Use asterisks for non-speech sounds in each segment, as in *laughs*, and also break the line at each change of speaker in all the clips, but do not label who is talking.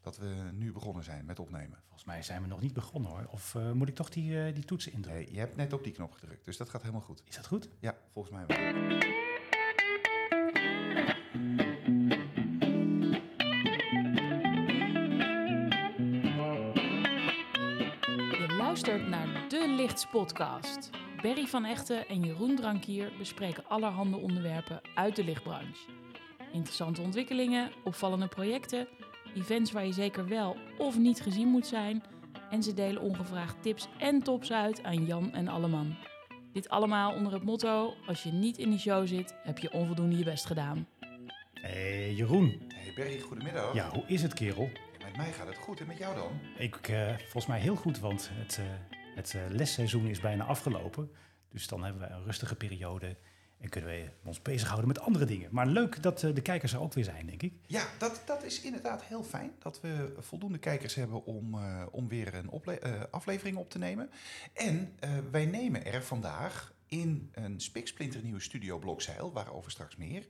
dat we nu begonnen zijn met opnemen.
Volgens mij zijn we nog niet begonnen hoor. Of eh, moet ik toch die, eh, die toetsen indrukken?
Nee, je hebt net op die knop gedrukt, dus dat gaat helemaal goed.
Is dat goed?
Ja, volgens mij wel.
Je luistert naar De Lichts Podcast. Berry van Echten en Jeroen Drankier bespreken allerhande onderwerpen uit de lichtbranche. Interessante ontwikkelingen, opvallende projecten, events waar je zeker wel of niet gezien moet zijn. En ze delen ongevraagd tips en tops uit aan Jan en Alleman. Dit allemaal onder het motto: als je niet in de show zit, heb je onvoldoende je best gedaan.
Hé, Eh, Jeroen.
Hey Berry, goedemiddag.
Ja, hoe is het, kerel?
Met mij gaat het goed en met jou dan?
Ik, eh, volgens mij heel goed, want het, eh, het eh, lesseizoen is bijna afgelopen. Dus dan hebben we een rustige periode en kunnen we ons bezighouden met andere dingen. Maar leuk dat eh, de kijkers er ook weer zijn, denk ik.
Ja, dat, dat is inderdaad heel fijn dat we voldoende kijkers hebben om, eh, om weer een ople- eh, aflevering op te nemen. En eh, wij nemen er vandaag in een spiksplinternieuwe studio Blokzeil, waarover straks meer.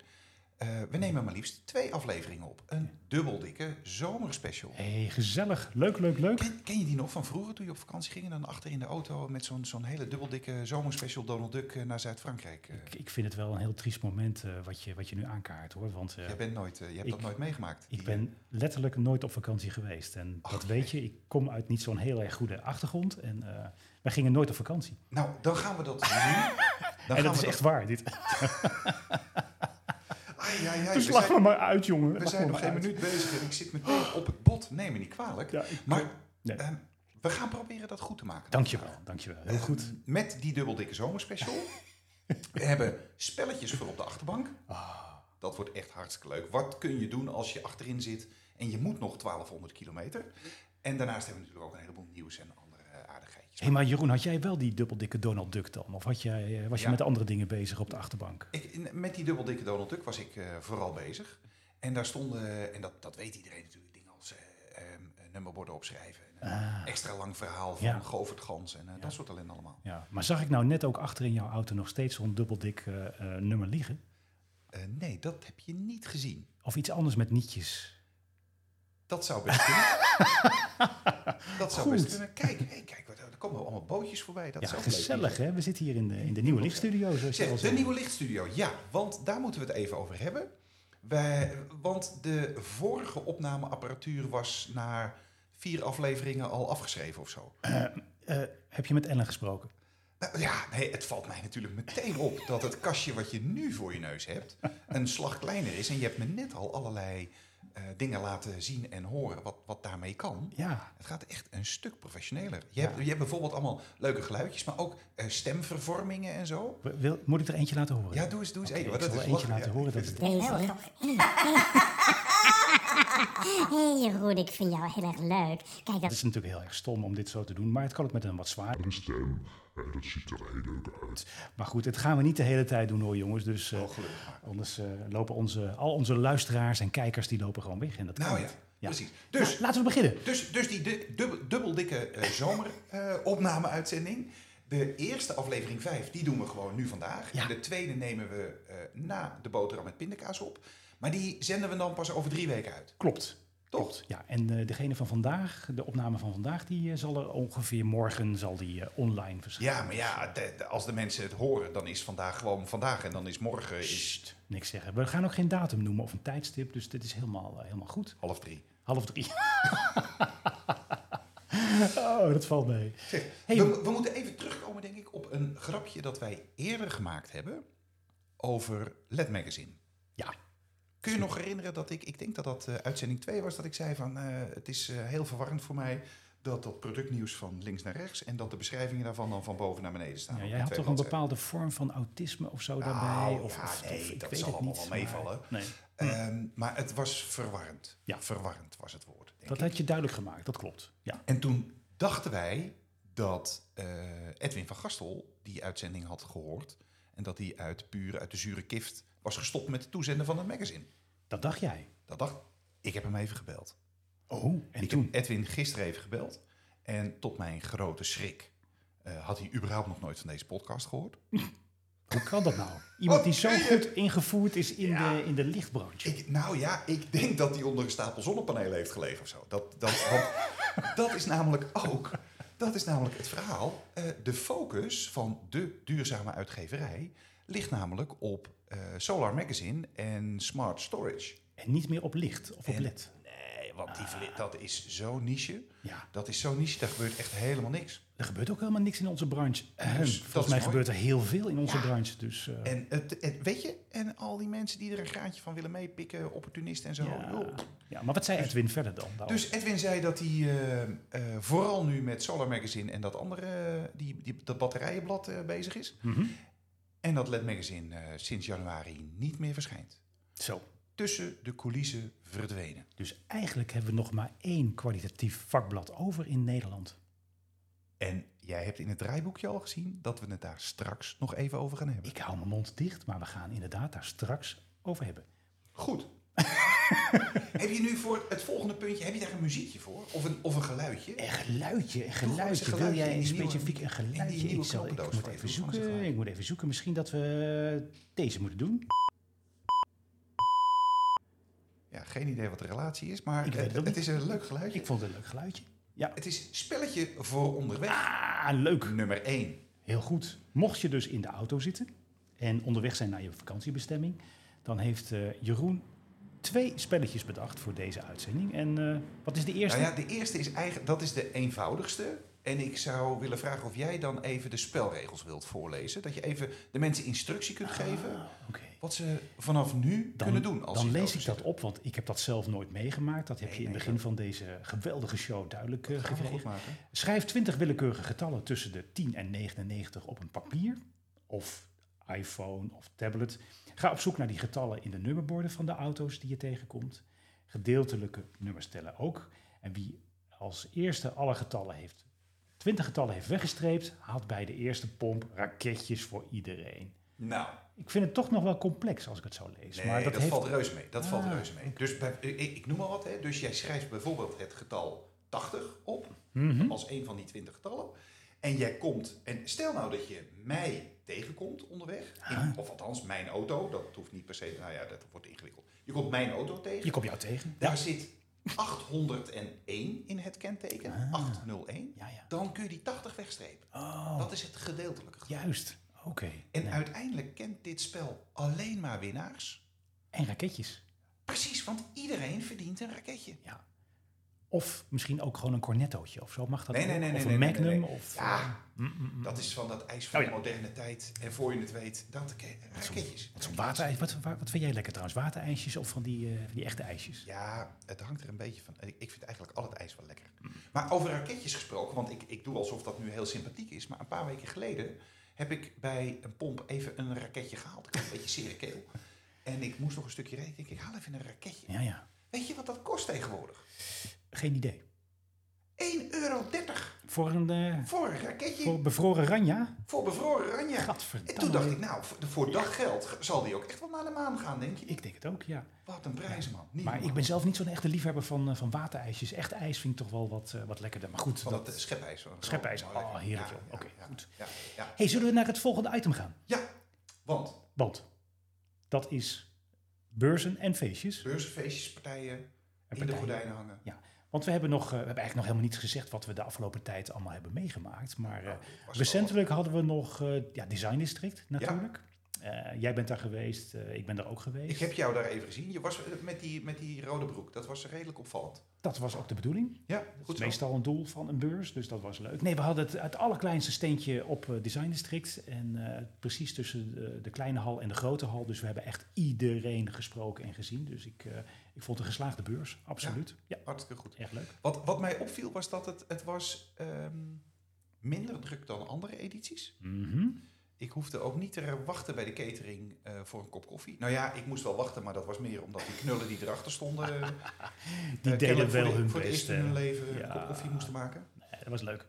eh, we nemen maar liefst twee afleveringen op. Een dubbeldikke zomerspecial.
Hé, gezellig. Leuk, leuk, leuk.
Ken, ken je die nog van vroeger toen je op vakantie ging en dan achter in de auto met zo'n zo'n hele dubbeldikke zomerspecial Donald Duck eh, naar Zuid-Frankrijk? eh?
Ik, ik vind het wel een heel triest moment eh, wat, je, wat je nu aankaart, hoor. Want eh,
Jij bent nooit, eh, je hebt
Ik-
dat nooit meegemaakt.
Ik
Die-
ben letterlijk nooit op vakantie geweest. En
Ach,
dat weet je, ik kom uit niet zo'n heel erg goede achtergrond. En eh, wij gingen nooit op vakantie.
Nou, dan gaan we
*laughs*
dat doen. Dan gaan
en dat is
we
echt waar. *laughs* Dit.
Ai, ai, ai,
dus
we
lag
zijn,
me maar uit, jongen.
we
Lach
zijn
me
nog
maar
geen
uit.
minuut bezig en ik zit meteen *gasps* op het bot. Neem me niet kwalijk.
Ja, ik-
Maar
Nee.
ehm, we gaan proberen dat goed te maken.
Dankjewel, dankjewel. Heel goed.
Ehm, Met die dubbeldikke
*laughs*
zomerspecial. we hebben spelletjes voor op de achterbank.
Ah.
Dat wordt echt hartstikke leuk. Wat kun je doen als je achterin zit en je moet nog 1200 kilometer? En daarnaast hebben we natuurlijk ook een heleboel nieuws en andere eh, aardigheidjes.
Hé, hey, maar Jeroen, had jij wel die dubbeldikke Donald Duck dan? Of had jij, eh, was je
Ja.
met andere dingen bezig op de achterbank?
Ik, in- met die dubbeldikke Donald Duck was ik eh, vooral bezig. En daar stonden, en dat, dat weet iedereen natuurlijk, dingen als eh, ehm, nummerborden opschrijven. En een
Ah,
extra lang verhaal van
Ja.
Govert Gans en eh, dat soort ellende allemaal.
ja. Maar zag ik nou net ook achter in jouw auto nog steeds zo'n dubbeldik eh, eh, nummer liggen?
Eh, nee, dat heb je niet gezien.
Of iets anders met nietjes?
Dat zou best
*laughs*
kunnen. dat zou best
Goed.
kunnen. Kijk, hey, kijk, wat- er komen allemaal bootjes voorbij. Dat
Ja,
is ook
gezellig
Leuk.
hè? We zitten hier in de, in de nieuwe lichtstudio, zoals je al
Zeg, de
zei.
nieuwe lichtstudio. Ja, want daar moeten we het even over hebben. Wij, want de vorige opnameapparatuur was na vier afleveringen al afgeschreven of zo.
Eh, heb je met Ellen gesproken?
Nou, ja, nee, het valt mij natuurlijk meteen op dat het kastje wat je nu voor je neus hebt een slag kleiner is. En je hebt me net al allerlei eh, dingen laten zien en horen wat, wat daarmee kan.
Ja,
Het gaat echt een stuk professioneler. Je hebt, je hebt bijvoorbeeld allemaal leuke geluidjes, maar ook eh, stemvervormingen en zo.
W- wil- moet ik er eentje laten horen?
Ja, doe eens, doe eens even.
Oh, ik
want
zal
dat
er
is
eentje
lachen,
laten
ja.
horen. Dat het...
Deze. Hé *laughs* Jeroen, ik vind jou heel erg leuk. Kijk,
Het
dat
is natuurlijk heel erg stom om dit zo te doen, maar het kan ook met een wat zwaardere stem. dat ziet eh, er heel leuk uit. Maar goed, het gaan we niet de hele tijd doen hoor jongens. Dus eh,
Oh, gelukkig maar.
anders eh, lopen onze, al onze luisteraars en kijkers die lopen gewoon weg. En dat
Nou
kan
ja,
niet.
precies. Dus,
Nou, laten we beginnen.
dus, dus die du- dubbel, dubbeldikke eh, zomeropname-uitzending. de eerste aflevering 5, die doen we gewoon nu vandaag.
Ja.
En de tweede nemen we eh, na de boterham met pindakaas op. Maar die zenden we dan pas over drie weken uit.
Klopt.
Toch?
Ja, en eh, degene van vandaag, de opname van vandaag, die eh, zal er ongeveer morgen zal die, eh, online verschijnen.
Ja, maar ja, de- de- als de mensen het horen, dan is vandaag gewoon vandaag. En dan is morgen is
Sst, niks zeggen. We gaan ook geen datum noemen of een tijdstip, dus dit is helemaal, eh, helemaal goed.
half drie.
Half drie. *laughs* oh, dat valt mee. Hey,
we, we moeten even terugkomen, denk ik, op een grapje dat wij eerder gemaakt hebben over Led Magazine.
Ja,
Kun je nog herinneren dat ik, ik denk dat dat eh, uitzending 2 was, dat ik zei van eh, het is eh, heel verwarrend voor mij dat dat productnieuws van links naar rechts en dat de beschrijvingen daarvan dan van boven naar beneden staan.
ja
op
jij
die
had
twee
toch een
bladzijden.
bepaalde vorm van autisme of zo
Nou,
daarbij? Of,
ja,
of-
nee,
of-
dat zal allemaal wel
maar-
meevallen.
Nee.
Ehm, maar het was verwarrend.
Ja.
Verwarrend was het woord. Denk
Dat
ik.
had je duidelijk gemaakt, dat klopt. Ja.
En toen dachten wij dat eh, Edwin van Gastel die uitzending had gehoord en dat hij uit puur uit de zure kift was gestopt met het toezenden van het magazine.
Dat dacht jij.
Dat dacht ik. heb hem even gebeld.
Oh, en
Ik
toen?
heb Edwin gisteren even gebeld. En tot mijn grote schrik eh, had hij überhaupt nog nooit van deze podcast gehoord.
Hoe kan dat nou? Iemand die zo
Wat meen Oh, je?
goed ingevoerd is in, de, in de lichtbranche.
Ik, nou ja, ik denk dat die onder een stapel zonnepanelen heeft gelegen of zo. Dat, dat, want dat is namelijk ook. Dat is namelijk het verhaal. Eh, de focus van de duurzame uitgeverij ligt namelijk op eh, Solar Magazine en Smart Storage.
En niet meer op licht of op
En-
led.
Nee, want die, verli- dat is zo'n niche.
Ja,
Dat is zo'n niche, daar gebeurt echt helemaal niks.
er gebeurt ook helemaal niks in onze branche. Ehem,
dus dat is
Volgens mij
mooi.
gebeurt er heel veel in onze branche. Dus, eh,
En, het, en weet je, en al die mensen die er een graantje van willen meepikken, opportunisten en zo.
ja.
joh.
ja, maar wat zei Edwin verder dan? daarover?
Dus Edwin zei dat hij eh, eh, vooral nu met Solar Magazine en dat andere, eh, die, die, dat batterijenblad eh, bezig is.
Mhm.
En dat LED Magazine eh, sinds januari niet meer verschijnt.
Zo.
Tussen de coulissen verdwenen.
Dus eigenlijk hebben we nog maar één kwalitatief vakblad over in Nederland.
En jij hebt in het draaiboekje al gezien dat we het daar straks nog even over gaan hebben.
Ik hou mijn mond dicht, maar we gaan inderdaad daar straks over hebben.
Goed. *laughs* heb je nu voor het volgende puntje, heb je daar een muziekje voor? Of een, of een geluidje?
Een geluidje, een
gewoon eens
geluidje.
een
Wil
geluidje
jij
in die nieuwe-
specifiek
in
een
die
geluidje?
nieuwe
Ik, zal, ik
knoppendoos
moet
van je.
even
Doe gewoon eens een
zoeken.
geluid.
Ik moet even zoeken. Misschien dat we eh, deze moeten doen.
Ja, geen idee wat de relatie is, maar
Ik weet
het,
het ook
het
niet.
is een leuk geluidje.
Ik vond het een leuk geluidje. Ja.
Het is spelletje voor onderweg.
Ah, leuk.
Nummer 1.
Heel goed. Mocht je dus in de auto zitten en onderweg zijn naar je vakantiebestemming, dan heeft eh, Jeroen twee spelletjes bedacht voor deze uitzending. En eh, wat is de eerste?
Nou ja, de eerste is eigenlijk, dat is de eenvoudigste. En ik zou willen vragen of jij dan even de spelregels wilt voorlezen. Dat je even de mensen instructie kunt geven
Oké.
wat ze vanaf nu
Ah. Dan,
kunnen doen. Als
dan
ze
lees
het
ik dat op, want ik heb dat zelf nooit meegemaakt. Dat heb
Nee,
je in het
nee,
begin van deze geweldige show duidelijk eh,
Gaan we goed
gekregen.
maken.
Schrijf 20 willekeurige getallen tussen de 10 en 99 op een papier of iPhone of tablet. Ga op zoek naar die getallen in de nummerborden van de auto's die je tegenkomt. Gedeeltelijke nummers tellen ook. En wie als eerste alle getallen heeft, 20 getallen heeft weggestreept, haalt bij de eerste pomp raketjes voor iedereen.
Nou,
Ik vind het toch nog wel complex als ik het zo lees.
nee,
maar
dat,
dat, heeft...
valt reuze mee. Dat valt
Ah,
reuze mee. Dus bij- ik, ik noem maar wat. Hè. Dus jij schrijft bijvoorbeeld het getal 80 op
Mhm.
als een van die 20 getallen. En jij komt, en stel nou dat je mij tegenkomt onderweg, in-
Ah.
of althans mijn auto, dat hoeft niet per se, nou ja, dat wordt ingewikkeld. Je komt mijn auto tegen.
Je komt jou tegen.
Daar zit 801 in het kenteken, 801.
Ah. Ja, ja.
Dan kun je die 80 wegstrepen.
Oh,
Dat is het gedeeltelijke. getal.
juist. Oké.
En
Nou,
uiteindelijk kent dit spel alleen maar winnaars.
en raketjes.
Precies, want iedereen verdient een raketje.
Ja. Of misschien ook gewoon een cornettootje of zo. Mag dat
Nee,
ook?
nee, nee,
Of
nee,
een
nee, nee,
magnum?
nee.
Of,
Ja,
Mm, mm, mm.
dat is van dat ijs van
Oh ja.
de moderne tijd. En voor je het weet, dat ke- raketjes.
Wat, zo'n waterijs, wat, wa- wat vind jij lekker trouwens? Waterijsjes of van die, eh, van die echte ijsjes?
Ja, het hangt er een beetje van. Ik ik vind eigenlijk al het ijs wel lekker.
Mm.
Maar over raketjes gesproken, want ik, ik doe alsof dat nu heel sympathiek is. Maar een paar weken geleden heb ik bij een pomp even een raketje gehaald. Ik had een beetje zere keel. En ik moest nog een stukje rekenen. Ik denk, Ik haal even een raketje.
Ja, ja.
Weet je wat dat kost tegenwoordig?
Geen idee.
1,30 euro
Voor een eh,
voor een raketje.
voor
Voor,
bevroren ranja?
bevroren ranja.
Gadverdamme.
En toen dacht ik, nou, voor, voor dat geld zal die ook echt wel naar de maan gaan, denk je?
Ik denk het ook, ja.
Wat een prijs, man. Niet
Maar ik
normaal.
ben zelf niet zo'n echte liefhebber van, eh, van waterijsjes. Echt ijs vind ik toch wel wat, eh, wat lekkerder. Maar goed,
Van
dat,
dat eh, schepijs. van-
schepijs.
lekker.
Oh, heerlijk
Ja,
joh.
ja,
Oké,
ja,
goed.
Ja, ja.
hey, zullen we naar het volgende item gaan?
Ja, want
Want dat is beurzen en feestjes.
beurzenfeestjes, partijen,
En
in de
partijen.
gordijnen hangen.
Want we hebben, nog, eh, we hebben eigenlijk nog helemaal niet gezegd wat we de afgelopen tijd allemaal hebben meegemaakt. Maar eh,
Nou, Was
recentelijk hadden we nog eh, ja, Design District natuurlijk. Eh, jij bent daar geweest, eh, ik ben daar ook
wel-
geweest.
Ik heb jou daar even gezien. Je was eh, met die, met die rode broek. Dat was redelijk opvallend.
Dat was ook de bedoeling.
Ja,
Dat
goed
is
zo.
meestal een doel van een beurs, dus dat was leuk. Nee, we hadden het, het allerkleinste steentje op eh, Design District. En eh, precies tussen de, de kleine hal en de grote hal. Dus we hebben echt iedereen gesproken en gezien. Dus ik, eh, ik vond het een geslaagde beurs, absoluut. Ja,
Hartstikke goed.
echt leuk.
Wat, wat mij opviel was dat het, het was ehm, minder druk dan andere edities.
Mhm.
Ik hoefde ook niet te wachten bij de catering eh, voor een kop koffie. Nou ja, ik moest wel wachten, maar dat was meer omdat die knullen die erachter stonden...
*laughs*
eh,
Die
eh,
deden
kennelijk
wel
voor de-
hun
Voor het
best.
eerst in hun
eh.
leven
Ja.
een kop koffie moesten maken.
Eh, dat was leuk.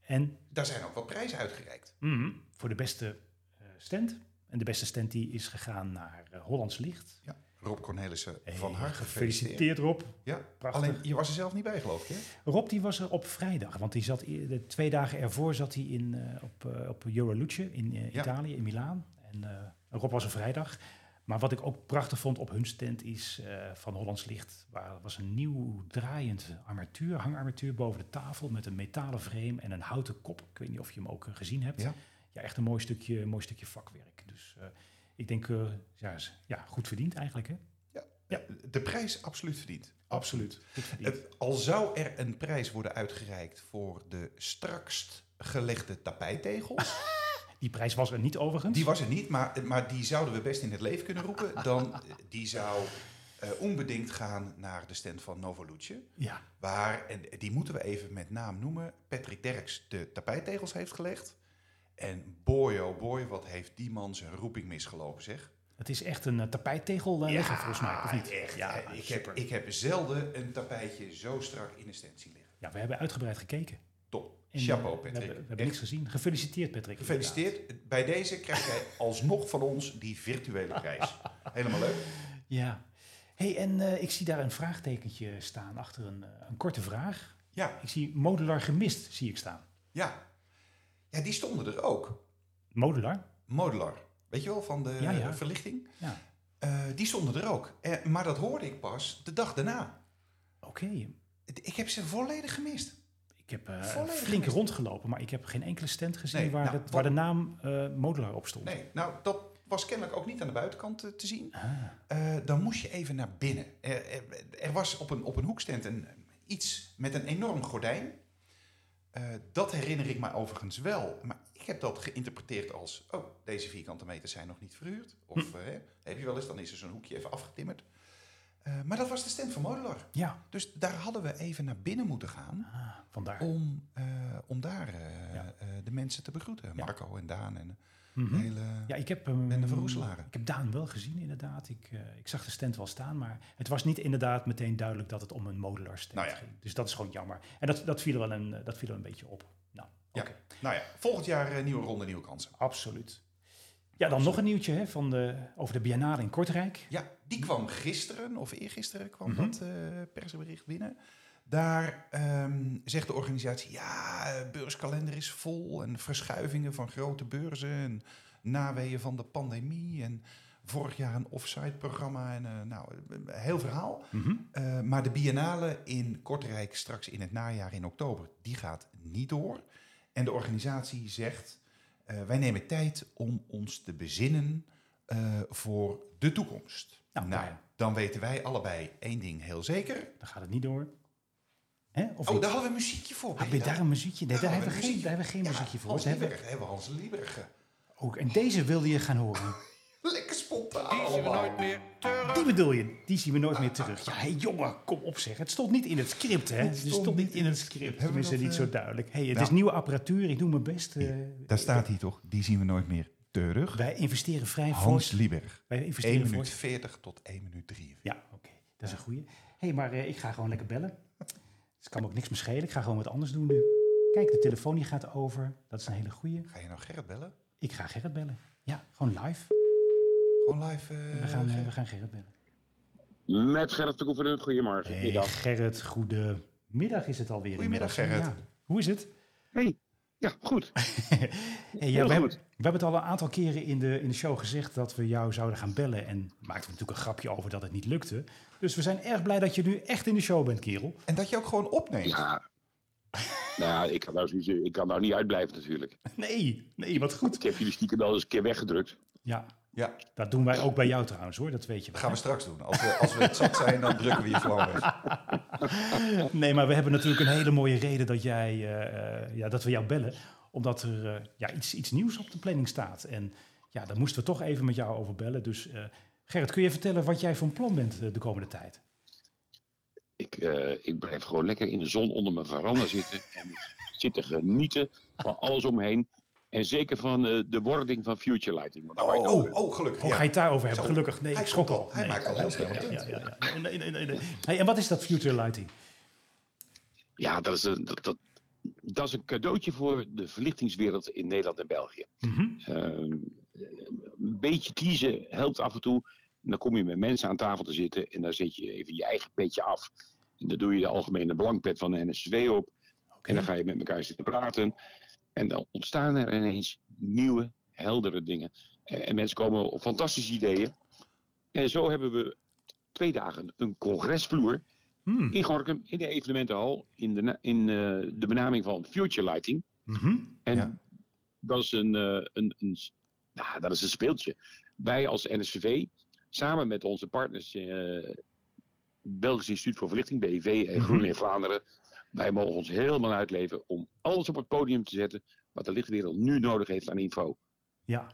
En
Daar zijn ook wat prijzen uitgereikt.
mhm, voor de beste eh, stand. En de beste stand die is gegaan naar eh, Hollands Licht.
Ja. Rob Cornelissen
Hey,
van harte gefeliciteerd.
Gefeliciteerd Rob.
Ja,
Prachtig.
alleen je was er zelf niet bij, geloof ik. Hè?
Rob die was er op vrijdag, want die zat, i- de twee dagen ervoor zat hij in, eh, op, eh, op Joraluce in eh,
Ja.
Italië, in Milaan. En eh, Rob was er vrijdag. Maar wat ik ook prachtig vond op hun stand is eh, van Hollands Licht. Waar was een nieuw draaiend armatuur, hangarmatuur boven de tafel met een metalen frame en een houten kop. Ik weet niet of je hem ook eh, gezien hebt.
Ja.
Ja, echt een mooi stukje, mooi stukje vakwerk. Dus eh, ik denk, eh, ja, is- ja, goed verdiend eigenlijk. Hè?
Eh, De prijs absoluut verdiend. Absoluut.
Goed verdiend.
Het- al zou er een prijs worden uitgereikt voor de strakst gelegde
*laughs*
tapijttegels.
Die prijs was er niet overigens.
Die was er niet, maar, maar die zouden we best in het leven kunnen roepen. Dan
*laughs*
eh, die zou eh, onbedingt gaan naar de stand van Novoluce.
ja.
Waar, en die moeten we even met naam noemen, Patrick Derks de tapijttegels heeft gelegd. En boy oh boy, wat heeft die man zijn roeping misgelopen zeg.
Het is echt een eh, tapijttegel eh, leggen, volgens mij, of niet?
echt.
Ja,
Eh, ik, heb,
super.
ik heb zelden een tapijtje zo strak in de stand zien liggen.
Ja, we hebben uitgebreid gekeken.
Top.
En,
Chapeau
eh,
Patrick.
We hebben, we hebben
Echt
niks gezien. Gefeliciteerd, Patrick.
Gefeliciteerd. Bij deze krijg
*laughs*
jij alsnog van ons die virtuele prijs. Helemaal leuk.
inderdaad. Ja. hey, en eh, ik zie daar een vraagtekentje staan achter een, eh, een korte vraag.
Ja,
Ik zie modular gemist, zie ik staan.
ja. Ja, die stonden er ook.
Modular?
Modular. Weet je wel, van de
Ja, ja.
verlichting.
Ja.
Eh, die stonden er ook. Eh, maar dat hoorde ik pas de dag daarna.
Oké.
Het- Ik heb ze volledig gemist.
Ik heb eh,
Volledig
flink
gemist.
rondgelopen, maar ik heb geen enkele stand gezien
Nee,
waar,
nou,
het, waar de
wat-
naam eh, modular op stond.
Nee, nou, dat was kennelijk ook niet aan de buitenkant eh, te zien.
Ah,
Eh, dan moest je even naar binnen. Er, er, er was op een, op een hoekstand een, iets met een enorm gordijn. Eh, dat herinner ik me overigens wel. Maar ik heb dat geïnterpreteerd als... oh, deze vierkante meters zijn nog niet verhuurd. Of
Hm.
eh, hè, heb je wel eens, dan is er zo'n hoekje even afgetimmerd. Eh, maar dat was de stand van Modular.
ja,
Dus daar hadden we even naar binnen moeten gaan...
ah, vandaar.
om, eh, om daar eh,
Ja.
eh, de mensen te begroeten. Marco en Daan en de
Mhm.
hele...
Ja, ik heb hem.
Ben de Van Roeselare.
Ik heb Daan wel gezien, inderdaad. Ik, eh, ik zag de stand wel staan, maar het was niet inderdaad meteen duidelijk dat het om een modular stand
Nou ja.
ging. Dus dat is gewoon jammer. En dat, dat, viel, wel een, eh, dat viel wel een beetje op. Nou,
Ja.
oké.
Nou ja, volgend jaar eh, nieuwe ronde, nieuwe kansen.
Absoluut. Ja, dan nog een nieuwtje hè, van de, over de Biennale in Kortrijk.
Ja, die kwam gisteren of eergisteren kwam
Mhm.
dat eh, persbericht binnen. Daar ehm, zegt de organisatie, ja, eh, beurskalender is vol en verschuivingen van grote beurzen en naweeën van de pandemie en vorig jaar een offsite programma en eh, nou, een heel verhaal.
Mhm.
Eh, maar de biennale in Kortrijk straks in het najaar in oktober, die gaat niet door. En de organisatie zegt, eh, wij nemen tijd om ons te bezinnen eh, voor de toekomst.
Nou,
nou,
ja.
dan weten wij allebei één ding heel zeker.
Dan gaat het niet door. Hè? Of
Oh,
niet?
daar hadden we een muziekje voor.
Heb je daar een muziekje? Nee,
daar
daar hebben we
hebben we
geen,
muziek.
daar hebben we geen
Ja,
muziekje voor.
Hans
Ze hebben,
Lieberg, daar hebben we Hans Lieberg.
ook, en deze wilde je gaan horen.
Lekker spontaan
Die zien we
allemaal.
nooit meer terug.
Die bedoel je, die zien we nooit meer terug. Ja, hey, jongen, kom op zeg. Het stond niet in het script, hè? Het
stond
stond niet
niet
in het script.
Hebben we
Tenminste, niet
dat,
zo
eh,
duidelijk. Hey, het
nou.
is nieuwe apparatuur, ik doe mijn best. eh,
Daar staat hij toch, die zien we nooit meer terug.
Wij investeren vrij
Hans
voort.
Lieberg,
Wij
1
investeren
minuut
voort.
40 tot 1 minuut 43.
Ja, oké. Dat is een goeie. hey, maar eh, ik ga gewoon lekker bellen. Dus Het kan me ook niks meer schelen. Ik ga gewoon wat anders doen nu. Kijk, de telefoon die gaat over. Dat is een hele goeie.
Ga je nou Gerrit bellen?
Ik ga Gerrit bellen. Ja, gewoon live.
Gewoon live. eh,
We gaan, eh,
Gerrit?
we gaan Gerrit bellen.
Met Gerrit de Koeverden, goedemorgen.
Hey,
Middag.
Gerrit, goedemiddag is het alweer.
Goedemiddag,
inmiddels.
Gerrit.
Ja. Hoe is het?
Hey, ja, goed.
Hey, ja, we, hebben,
goed.
we hebben het al een aantal keren in de, in de show gezegd dat we jou zouden gaan bellen. En maakten we natuurlijk een grapje over dat het niet lukte. Dus we zijn erg blij dat je nu echt in de show bent, kerel.
En dat je ook gewoon opneemt.
Ja. nou ja, ik kan, nou, niet- ik kan nou niet uitblijven natuurlijk.
*laughs* Nee, nee, wat goed.
Ik heb jullie stiekem wel eens een keer weggedrukt.
Ja,
Ja,
dat doen wij ook bij jou trouwens hoor, dat weet je
dat
wel.
gaan we straks doen. Als we, als we het zat zijn, dan drukken we je gewoon
*laughs*
weg.
*laughs* Nee, maar we hebben natuurlijk een hele mooie reden dat, jij, eh, eh, ja, dat we jou bellen. Omdat er eh, ja, iets, iets nieuws op de planning staat. En ja, daar moesten we toch even met jou over bellen. Dus eh, Gerrit, kun je vertellen wat jij van plan bent eh, de komende tijd?
Ik, eh, ik blijf gewoon lekker in de zon onder mijn veranda zitten. En zitten genieten van alles omheen. En zeker van eh, de wording van Future Lighting. Want daar word ik nou ook-
Oh, oh, gelukkig.
Oh,
ja.
ga je het daarover hebben?
Zo.
Gelukkig. Nee,
Hij
ik schrok
komt
al.
al. Hij
Nee,
maakt al heel snel
ja,
een punt.
ja, ja, ja. Nee, nee, nee, nee. Hey, en wat is dat Future Lighting?
Ja, dat is, een, dat, dat, dat is een cadeautje voor de verlichtingswereld in Nederland en België.
Mhm.
Ehm, een beetje kiezen helpt af en toe. En dan kom je met mensen aan tafel te zitten en daar zet je even je eigen petje af. En dan doe je de algemene belangpet van de NSW op. En dan ga je met elkaar zitten praten. En dan ontstaan er ineens nieuwe, heldere dingen. En, en mensen komen op fantastische ideeën. En zo hebben we twee dagen een congresvloer
Hmm.
in Gorkum, in de evenementenhal, in de, na- in, eh, de benaming van Future Lighting.
Mhm.
En
Ja.
dat is een, eh, een, een, s- nou, dat is een speeltje. Wij als NSVV, samen met onze partners, eh Belgisch Instituut voor Verlichting, BIV en
Mhm.
Groen in Vlaanderen, wij mogen ons helemaal uitleven om alles op het podium te zetten wat de lichtwereld nu nodig heeft aan info.
Ja,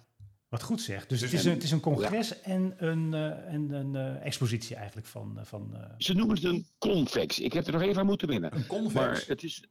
wat goed zeg. Dus,
Dus
het, is
en-
een, het is een congres en een, eh, en een eh, expositie eigenlijk van... eh, van eh,
Ze noemen het een convex. Ik heb er nog even aan moeten winnen.
Een
Maar
convex.
het is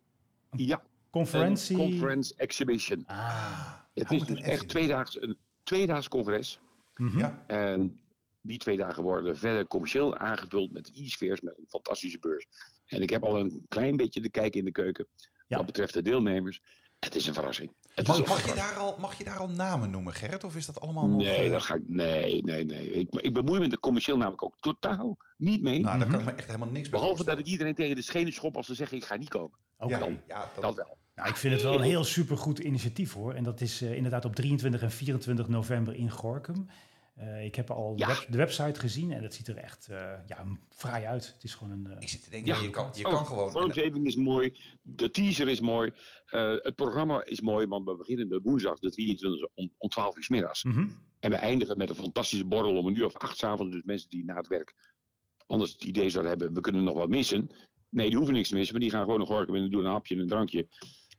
ja,
conferentie.
een conference exhibition.
Ah,
Het
Hou
is
het
dus
een F
echt
in.
tweedaags, een tweedaags congres. hm?
mhm.
Ja.
En die twee dagen worden verder commercieel aangevuld met e-sfeers, met een fantastische beurs. En ik heb al een klein beetje de kijk in de keuken
Ja.
wat betreft de deelnemers. Het is een verrassing. Het is
Mag,
een
mag je
verrassing.
daar al, mag je daar al namen noemen, Gerrit? Of is dat allemaal nog...
Nee,
eh,
dat ga ik. Nee, nee, nee. Ik, ik bemoei me er commercieel namelijk ook totaal niet mee.
Nou, daar kan ik
Mhm.
me echt helemaal niks bij
Behalve dat ik
voorstellen.
iedereen tegen de schenen schop als ze zeggen: ik ga niet komen.
Oké.
Ja, ja, dat,
Dat wel.
Nou, ik vind het wel een heel supergoed initiatief hoor. En dat is eh, inderdaad op 23 en 24 november in Gorkum. Eh, ik heb al
Ja.
de, web- de website gezien en dat ziet er echt eh, ja, fraai uit. Het is gewoon een... eh,
ik zit te denken,
Ja.
je kan, je
Oh,
kan gewoon...
Vormgeving is mooi, de teaser is mooi, eh, het programma is mooi, want we beginnen de woensdag, de 23 om, om 12 uur 's middags.
mhm.
En we eindigen met een fantastische borrel om een uur of acht 's avonds. Dus mensen die na het werk anders het idee zouden hebben, we kunnen nog wat missen. Nee, die hoeven niks te missen, maar die gaan gewoon nog horken en doen een hapje en een drankje.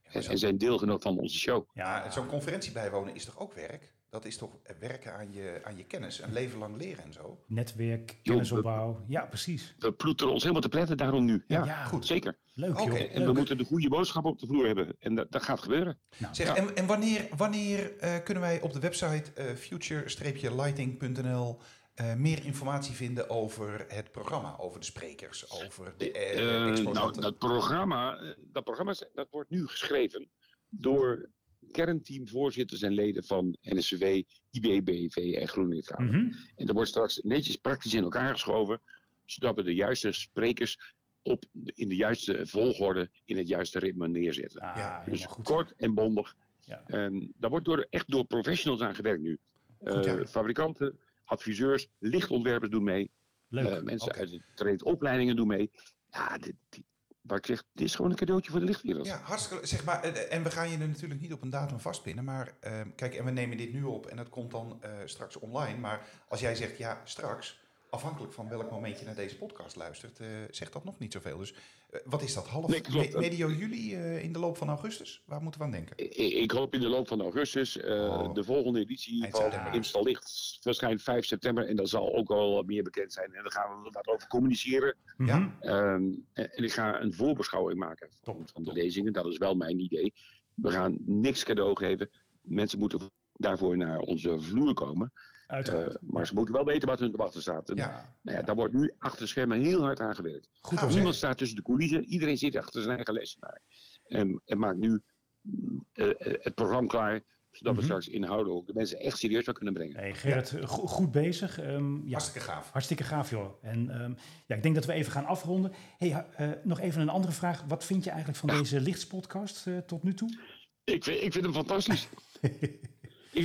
En, en zijn deelgenoot van onze show.
Ja,
Ja,
zo'n conferentie bijwonen is toch ook werk? Dat is toch werken aan je, aan je kennis, een leven lang leren en zo?
netwerk, kennisopbouw. Ja, precies.
We ploeteren ons helemaal te pletten daarom nu. Ja,
goed.
zeker.
Leuk
Oké,
joh.
en
En
Leuk.
we moeten de goede boodschap op de vloer hebben. En dat, dat gaat gebeuren.
Zeg,
Ja.
en, en wanneer, wanneer eh, kunnen wij op de website eh, future-lighting.nl eh, meer informatie vinden over het programma, over de sprekers, over de eh,
Eh, nou,
exposanten?
dat programma, eh, dat programma is- dat wordt nu geschreven door kernteamvoorzitters en leden van NSCW, IBBV E en GroenLinks.
Mhm.
En dat wordt straks netjes praktisch in elkaar geschoven, zodat we de juiste sprekers op, in de juiste volgorde, in het juiste ritme neerzetten.
Ah,
Ja,
helemaal
dus
goed.
kort en bondig.
Ja.
En daar wordt door, echt door professionals aan gewerkt nu.
Goed, ja.
Eh, fabrikanten, adviseurs, lichtontwerpers doen mee.
Leuk.
Eh, mensen
Oké.
uit de trainingsopleidingen doen mee. Ja, dit, dit- wat ik zeg, dit is gewoon een cadeautje voor de lichtwereld.
Ja, hartstikke zeg maar. eh, En we gaan je er natuurlijk niet op een datum vastpinnen. Maar eh, kijk, en we nemen dit nu op en dat komt dan eh, straks online. Maar als jij zegt ja, straks, afhankelijk van welk moment je naar deze podcast luistert, eh, zegt dat nog niet zoveel. Dus eh, wat is dat, half
Nee, klopt.
me- medio juli eh, in de loop van augustus? Waar moeten we aan denken?
I- i- Ik hoop in de loop van augustus. eh,
Oh.
De volgende editie
Eind
van
september.
Instal Licht verschijnt 5 september. En dat zal ook al meer bekend zijn. En daar gaan we wat over communiceren.
Mhm.
ja.
Ehm, en en ik ga een voorbeschouwing maken van,
Top,
van de lezingen. Dat is wel mijn idee. We gaan niks cadeau geven. Mensen moeten daarvoor naar onze vloer komen.
Uiteraard.
Eh, maar ze moeten wel weten wat hun te wachten staat. En,
Ja.
Nou ja, daar wordt nu achter de schermen heel hard aan gewerkt.
Goed
Gaaf,
om
zeg.
Niemand staat tussen de coulissen. Iedereen zit achter zijn eigen lessenaar. En, en maakt nu mm, eh, eh, het programma klaar. Zodat
Mhm.
we straks inhouden ook de mensen echt serieus zou kunnen brengen.
Hey, Gerrit, eh, go- goed bezig. Ehm, ja,
Hartstikke gaaf.
hartstikke gaaf joh. En ehm, ja, ik denk dat we even gaan afronden. Hey, ha- eh, nog even een andere vraag. Wat vind je eigenlijk van deze lichtspodcast eh, tot nu toe?
Ik vind, ik vind hem
*laughs*
fantastisch. ik,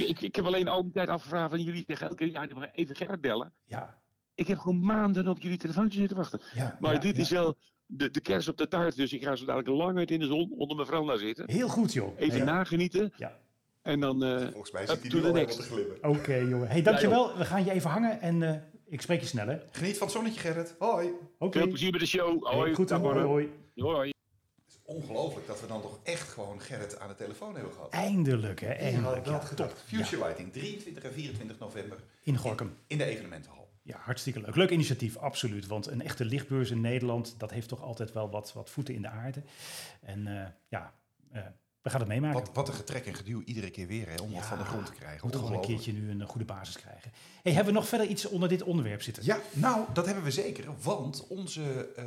ik, ik heb alleen al die tijd afgevraagd van jullie tegen elke jaar nog even Gerrit bellen.
Ja,
Ik heb gewoon maanden op jullie telefoontje zitten wachten.
ja,
Maar
ja,
dit
ja.
is wel de, de kers op de taart. Dus ik ga zo dadelijk lang uit in de zon onder mijn veranda zitten.
Heel goed joh.
Even
Hey,
nagenieten.
Ja.
En dan eh,
Volgens mij
Up
zit hij
to
nu
the
al helemaal
next.
te glimmen.
Oké jongen. Hey, dankjewel. We gaan je even hangen en eh, ik spreek je snel hè. Oké.
Geniet van het zonnetje, Gerrit. Hoi.
veel plezier bij de show.
Hey,
Hoi.
goed
Dag,
hoor.
mannen.
Hoi.
Hoi.
Het is ongelooflijk dat we dan toch echt gewoon Gerrit aan de telefoon hebben gehad.
Eindelijk hè.
Wie had
Eindelijk. Ja,
dat
top.
gedacht? Future Lighting, 23 en 24 november
In Gorkum.
in de evenementenhal.
Ja, hartstikke leuk. Leuk initiatief, absoluut. Want een echte lichtbeurs in Nederland, dat heeft toch altijd wel wat, wat voeten in de aarde. En eh, ja, eh, we gaan het meemaken.
Wat, wat een getrek en geduw iedere keer weer hè, om wat
Ja,
van de grond te krijgen.
Moet gewoon een
Ongelooflijk.
keertje nu een eh, goede basis krijgen. Hey, hebben we nog verder iets onder dit onderwerp zitten?
Ja, nou, dat hebben we zeker. Want onze eh,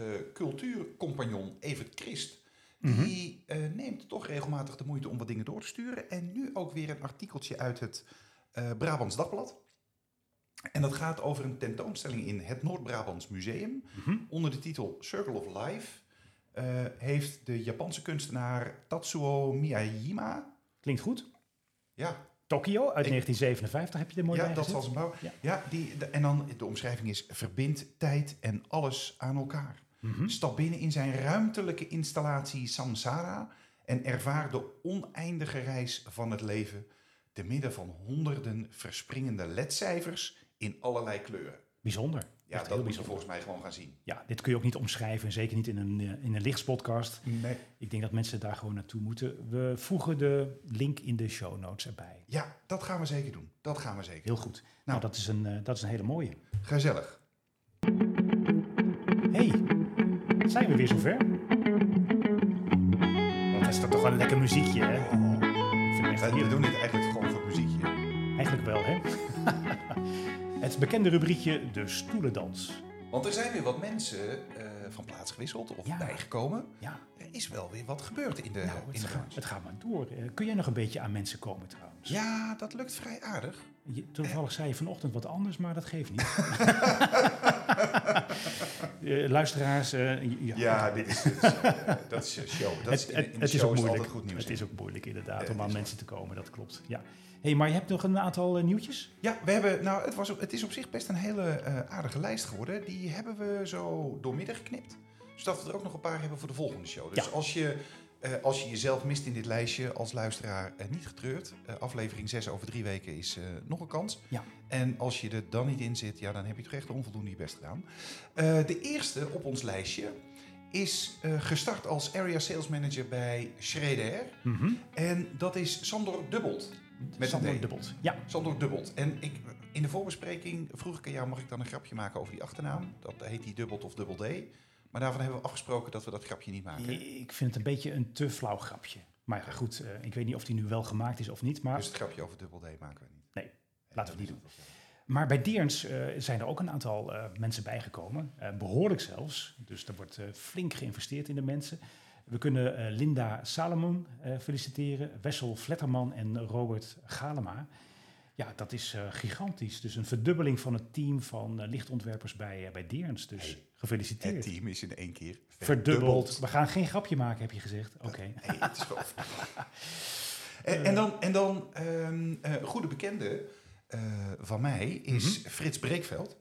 cultuurcompagnon Evert Christ... die eh, neemt toch regelmatig de moeite om wat dingen door te sturen. En nu ook weer een artikeltje uit het eh, Brabants Dagblad. En dat gaat over een tentoonstelling in het Noord-Brabants Museum.
Mhm.
Onder de titel Circle of Life eh, heeft de Japanse kunstenaar Tatsuo Miyajima.
Klinkt goed.
Ja,
Tokio uit
Ik-
1957 heb je er mooi
ja
bij
dat
gezet.
was een blauw.
Ja.
Ja, die, de- en dan de omschrijving is: verbind tijd en alles aan elkaar.
Mhm.
Stap binnen in zijn ruimtelijke installatie Samsara en ervaar de oneindige reis van het leven te midden van honderden verspringende ledcijfers in allerlei kleuren.
Bijzonder.
Ja,
Echt heel
dat moet je
bijzonder.
volgens mij gewoon gaan zien.
Ja, dit kun je ook niet omschrijven. en Zeker niet in een, eh, in een lichtspodcast.
Nee.
Ik denk dat mensen daar gewoon naartoe moeten. We voegen de link in de show notes erbij.
Ja, dat gaan we zeker doen. Dat gaan we zeker.
Heel goed. Nou, dat is een, eh, dat is een hele mooie.
Gezellig.
hey, zijn we weer zover? Wat is dat toch wel een lekker muziekje, hè? Ik vind het echt
We, we
heerlijk.
doen dit eigenlijk gewoon voor het muziekje.
Eigenlijk wel, hè? *laughs* het bekende rubriekje De Stoelendans.
Want er zijn weer wat mensen eh, van plaats gewisseld of
Ja.
bijgekomen.
Ja,
Er is wel weer wat gebeurd in de,
nou,
in
het,
de
gaat,
branche.
het gaat maar door. Eh, kun jij nog een beetje aan mensen komen, trouwens?
Ja, dat lukt vrij aardig.
Je- toevallig zei je vanochtend wat anders, maar dat
*laughs*
geeft niet. Eh, luisteraars, eh, ja,
dit is, dit is, eh, *laughs* dat is een show. Dat is, in, in de show is altijd goed nieuws.
Het is ook moeilijk inderdaad
Eh,
om
het
aan
is
mensen te komen, dat klopt. Ja. hey, maar je hebt nog een aantal eh, nieuwtjes?
Ja, we hebben, nou, het, was, op- het is op zich best een hele eh, aardige lijst geworden. Die hebben we zo doormidden geknipt. Zodat we er ook nog een paar hebben voor de volgende show. Dus
Ja.
als, je, eh, als je jezelf mist in dit lijstje als luisteraar, eh, niet getreurd. Eh, aflevering 6 over drie weken is eh, nog een kans.
Ja.
En als je er dan niet in zit, ja, dan heb je toch echt onvoldoende je best gedaan. Eh, de eerste op ons lijstje is eh, gestart als area sales manager bij Schreder.
Mhm.
En dat is Sandor Dubbelt. Met
Sander
een D.
Dubbelt. Ja,
Sander Dubbelt. En ik, in de voorbespreking vroeg ik aan jou, mag ik dan een grapje maken over die achternaam? Dat heet die Dubbelt of Dubbel D. Maar daarvan hebben we afgesproken dat we dat grapje niet maken.
ik vind het een beetje een te flauw grapje. Maar ja, goed, eh, ik weet niet of die nu wel gemaakt is of niet. Maar
Dus het grapje over Dubbel D maken we niet.
Nee, laten we het niet doen. Maar bij Deerns eh, zijn er ook een aantal eh, mensen bijgekomen. Eh, behoorlijk zelfs. Dus er wordt eh, flink geïnvesteerd in de mensen. We kunnen eh, Linda Salomon eh, feliciteren. Wessel Vletterman en Robert Galema. Ja, dat is eh, gigantisch. Dus een verdubbeling van het team van eh, lichtontwerpers bij, eh bij Deerns. Dus
Hey, Het
gefeliciteerd.
team is in één keer
Verdubbeld. We gaan geen grapje maken, heb je gezegd. Oké.
Nee, het *laughs* is gewoon... en, en dan, en dan ehm, eh, een goede bekende eh, van mij is
Mhm.
Frits Breekveld.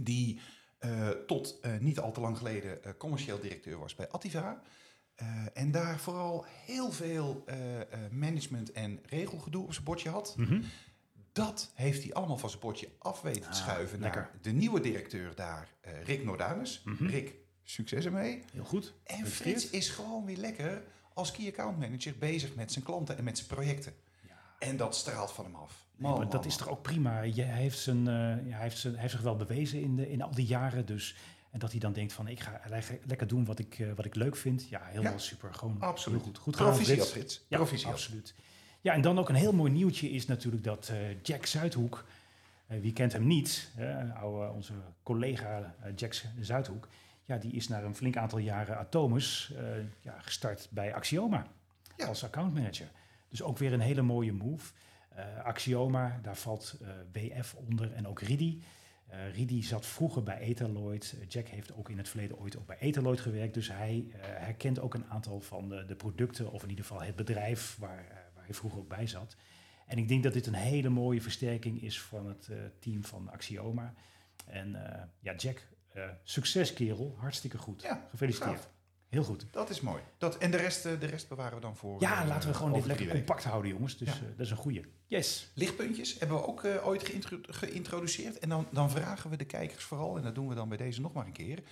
Die eh, tot eh, niet al te lang geleden eh, commercieel directeur was bij Attiva. Eh, en daar vooral heel veel eh, eh, management en regelgedoe op zijn bordje had.
Mhm.
Dat heeft hij allemaal van zijn bordje af weten te
Ah,
schuiven
lekker.
naar de nieuwe directeur daar, eh, Rick Nordanus.
Mhm.
Rick, succes ermee.
Heel goed.
En
Gefeliciteerd.
Frits is gewoon weer lekker als key account manager bezig met zijn klanten en met zijn projecten.
Ja.
En dat straalt van hem af.
Nee,
Man,
maar dat
man,
is
man.
toch ook prima. Je, hij, heeft zijn, eh, ja, hij, heeft zijn, hij heeft zich wel bewezen in, de, in al die jaren. Dus, en dat hij dan denkt van ik ga le- lekker doen wat ik, eh, wat ik leuk vind. Ja, helemaal
Ja,
super. Gewoon
absoluut.
heel goed. Goed gedaan,
Proficiat,
Frits.
Frits.
Ja,
Proficiat.
absoluut. Ja, en dan ook een heel mooi nieuwtje is natuurlijk dat eh, Jack Zuidhoek... eh, wie kent hem niet? eh, oude, onze collega eh, Jack Zuidhoek. Ja, die is na een flink aantal jaren Atomus eh, ja, gestart bij Axioma
Ja.
als accountmanager. Dus ook weer een hele mooie move. Eh, Axioma, daar valt eh, WF onder en ook Ridi. Eh, Ridi zat vroeger bij Etaloid. Eh, Jack heeft ook in het verleden ooit ook bij Etaloid gewerkt. Dus hij eh, herkent ook een aantal van de, de producten, of in ieder geval het bedrijf waar, eh, waar hij vroeger ook bij zat. En ik denk dat dit een hele mooie versterking is van het eh, team van Axioma. En eh, ja, Jack, eh, succes kerel. Hartstikke goed.
Ja,
Gefeliciteerd.
gaaf.
Heel goed.
Dat is mooi. Dat, en de rest, eh, de rest bewaren we dan voor.
Ja,
eh,
laten we gewoon
over
dit lekker
drie weken.
compact houden, jongens. Dus
Ja.
eh, dat is een goeie. Yes.
Lichtpuntjes hebben we ook eh, ooit geïntro- geïntroduceerd. En dan, dan vragen we de kijkers vooral, en dat doen we dan bij deze nog maar een keer.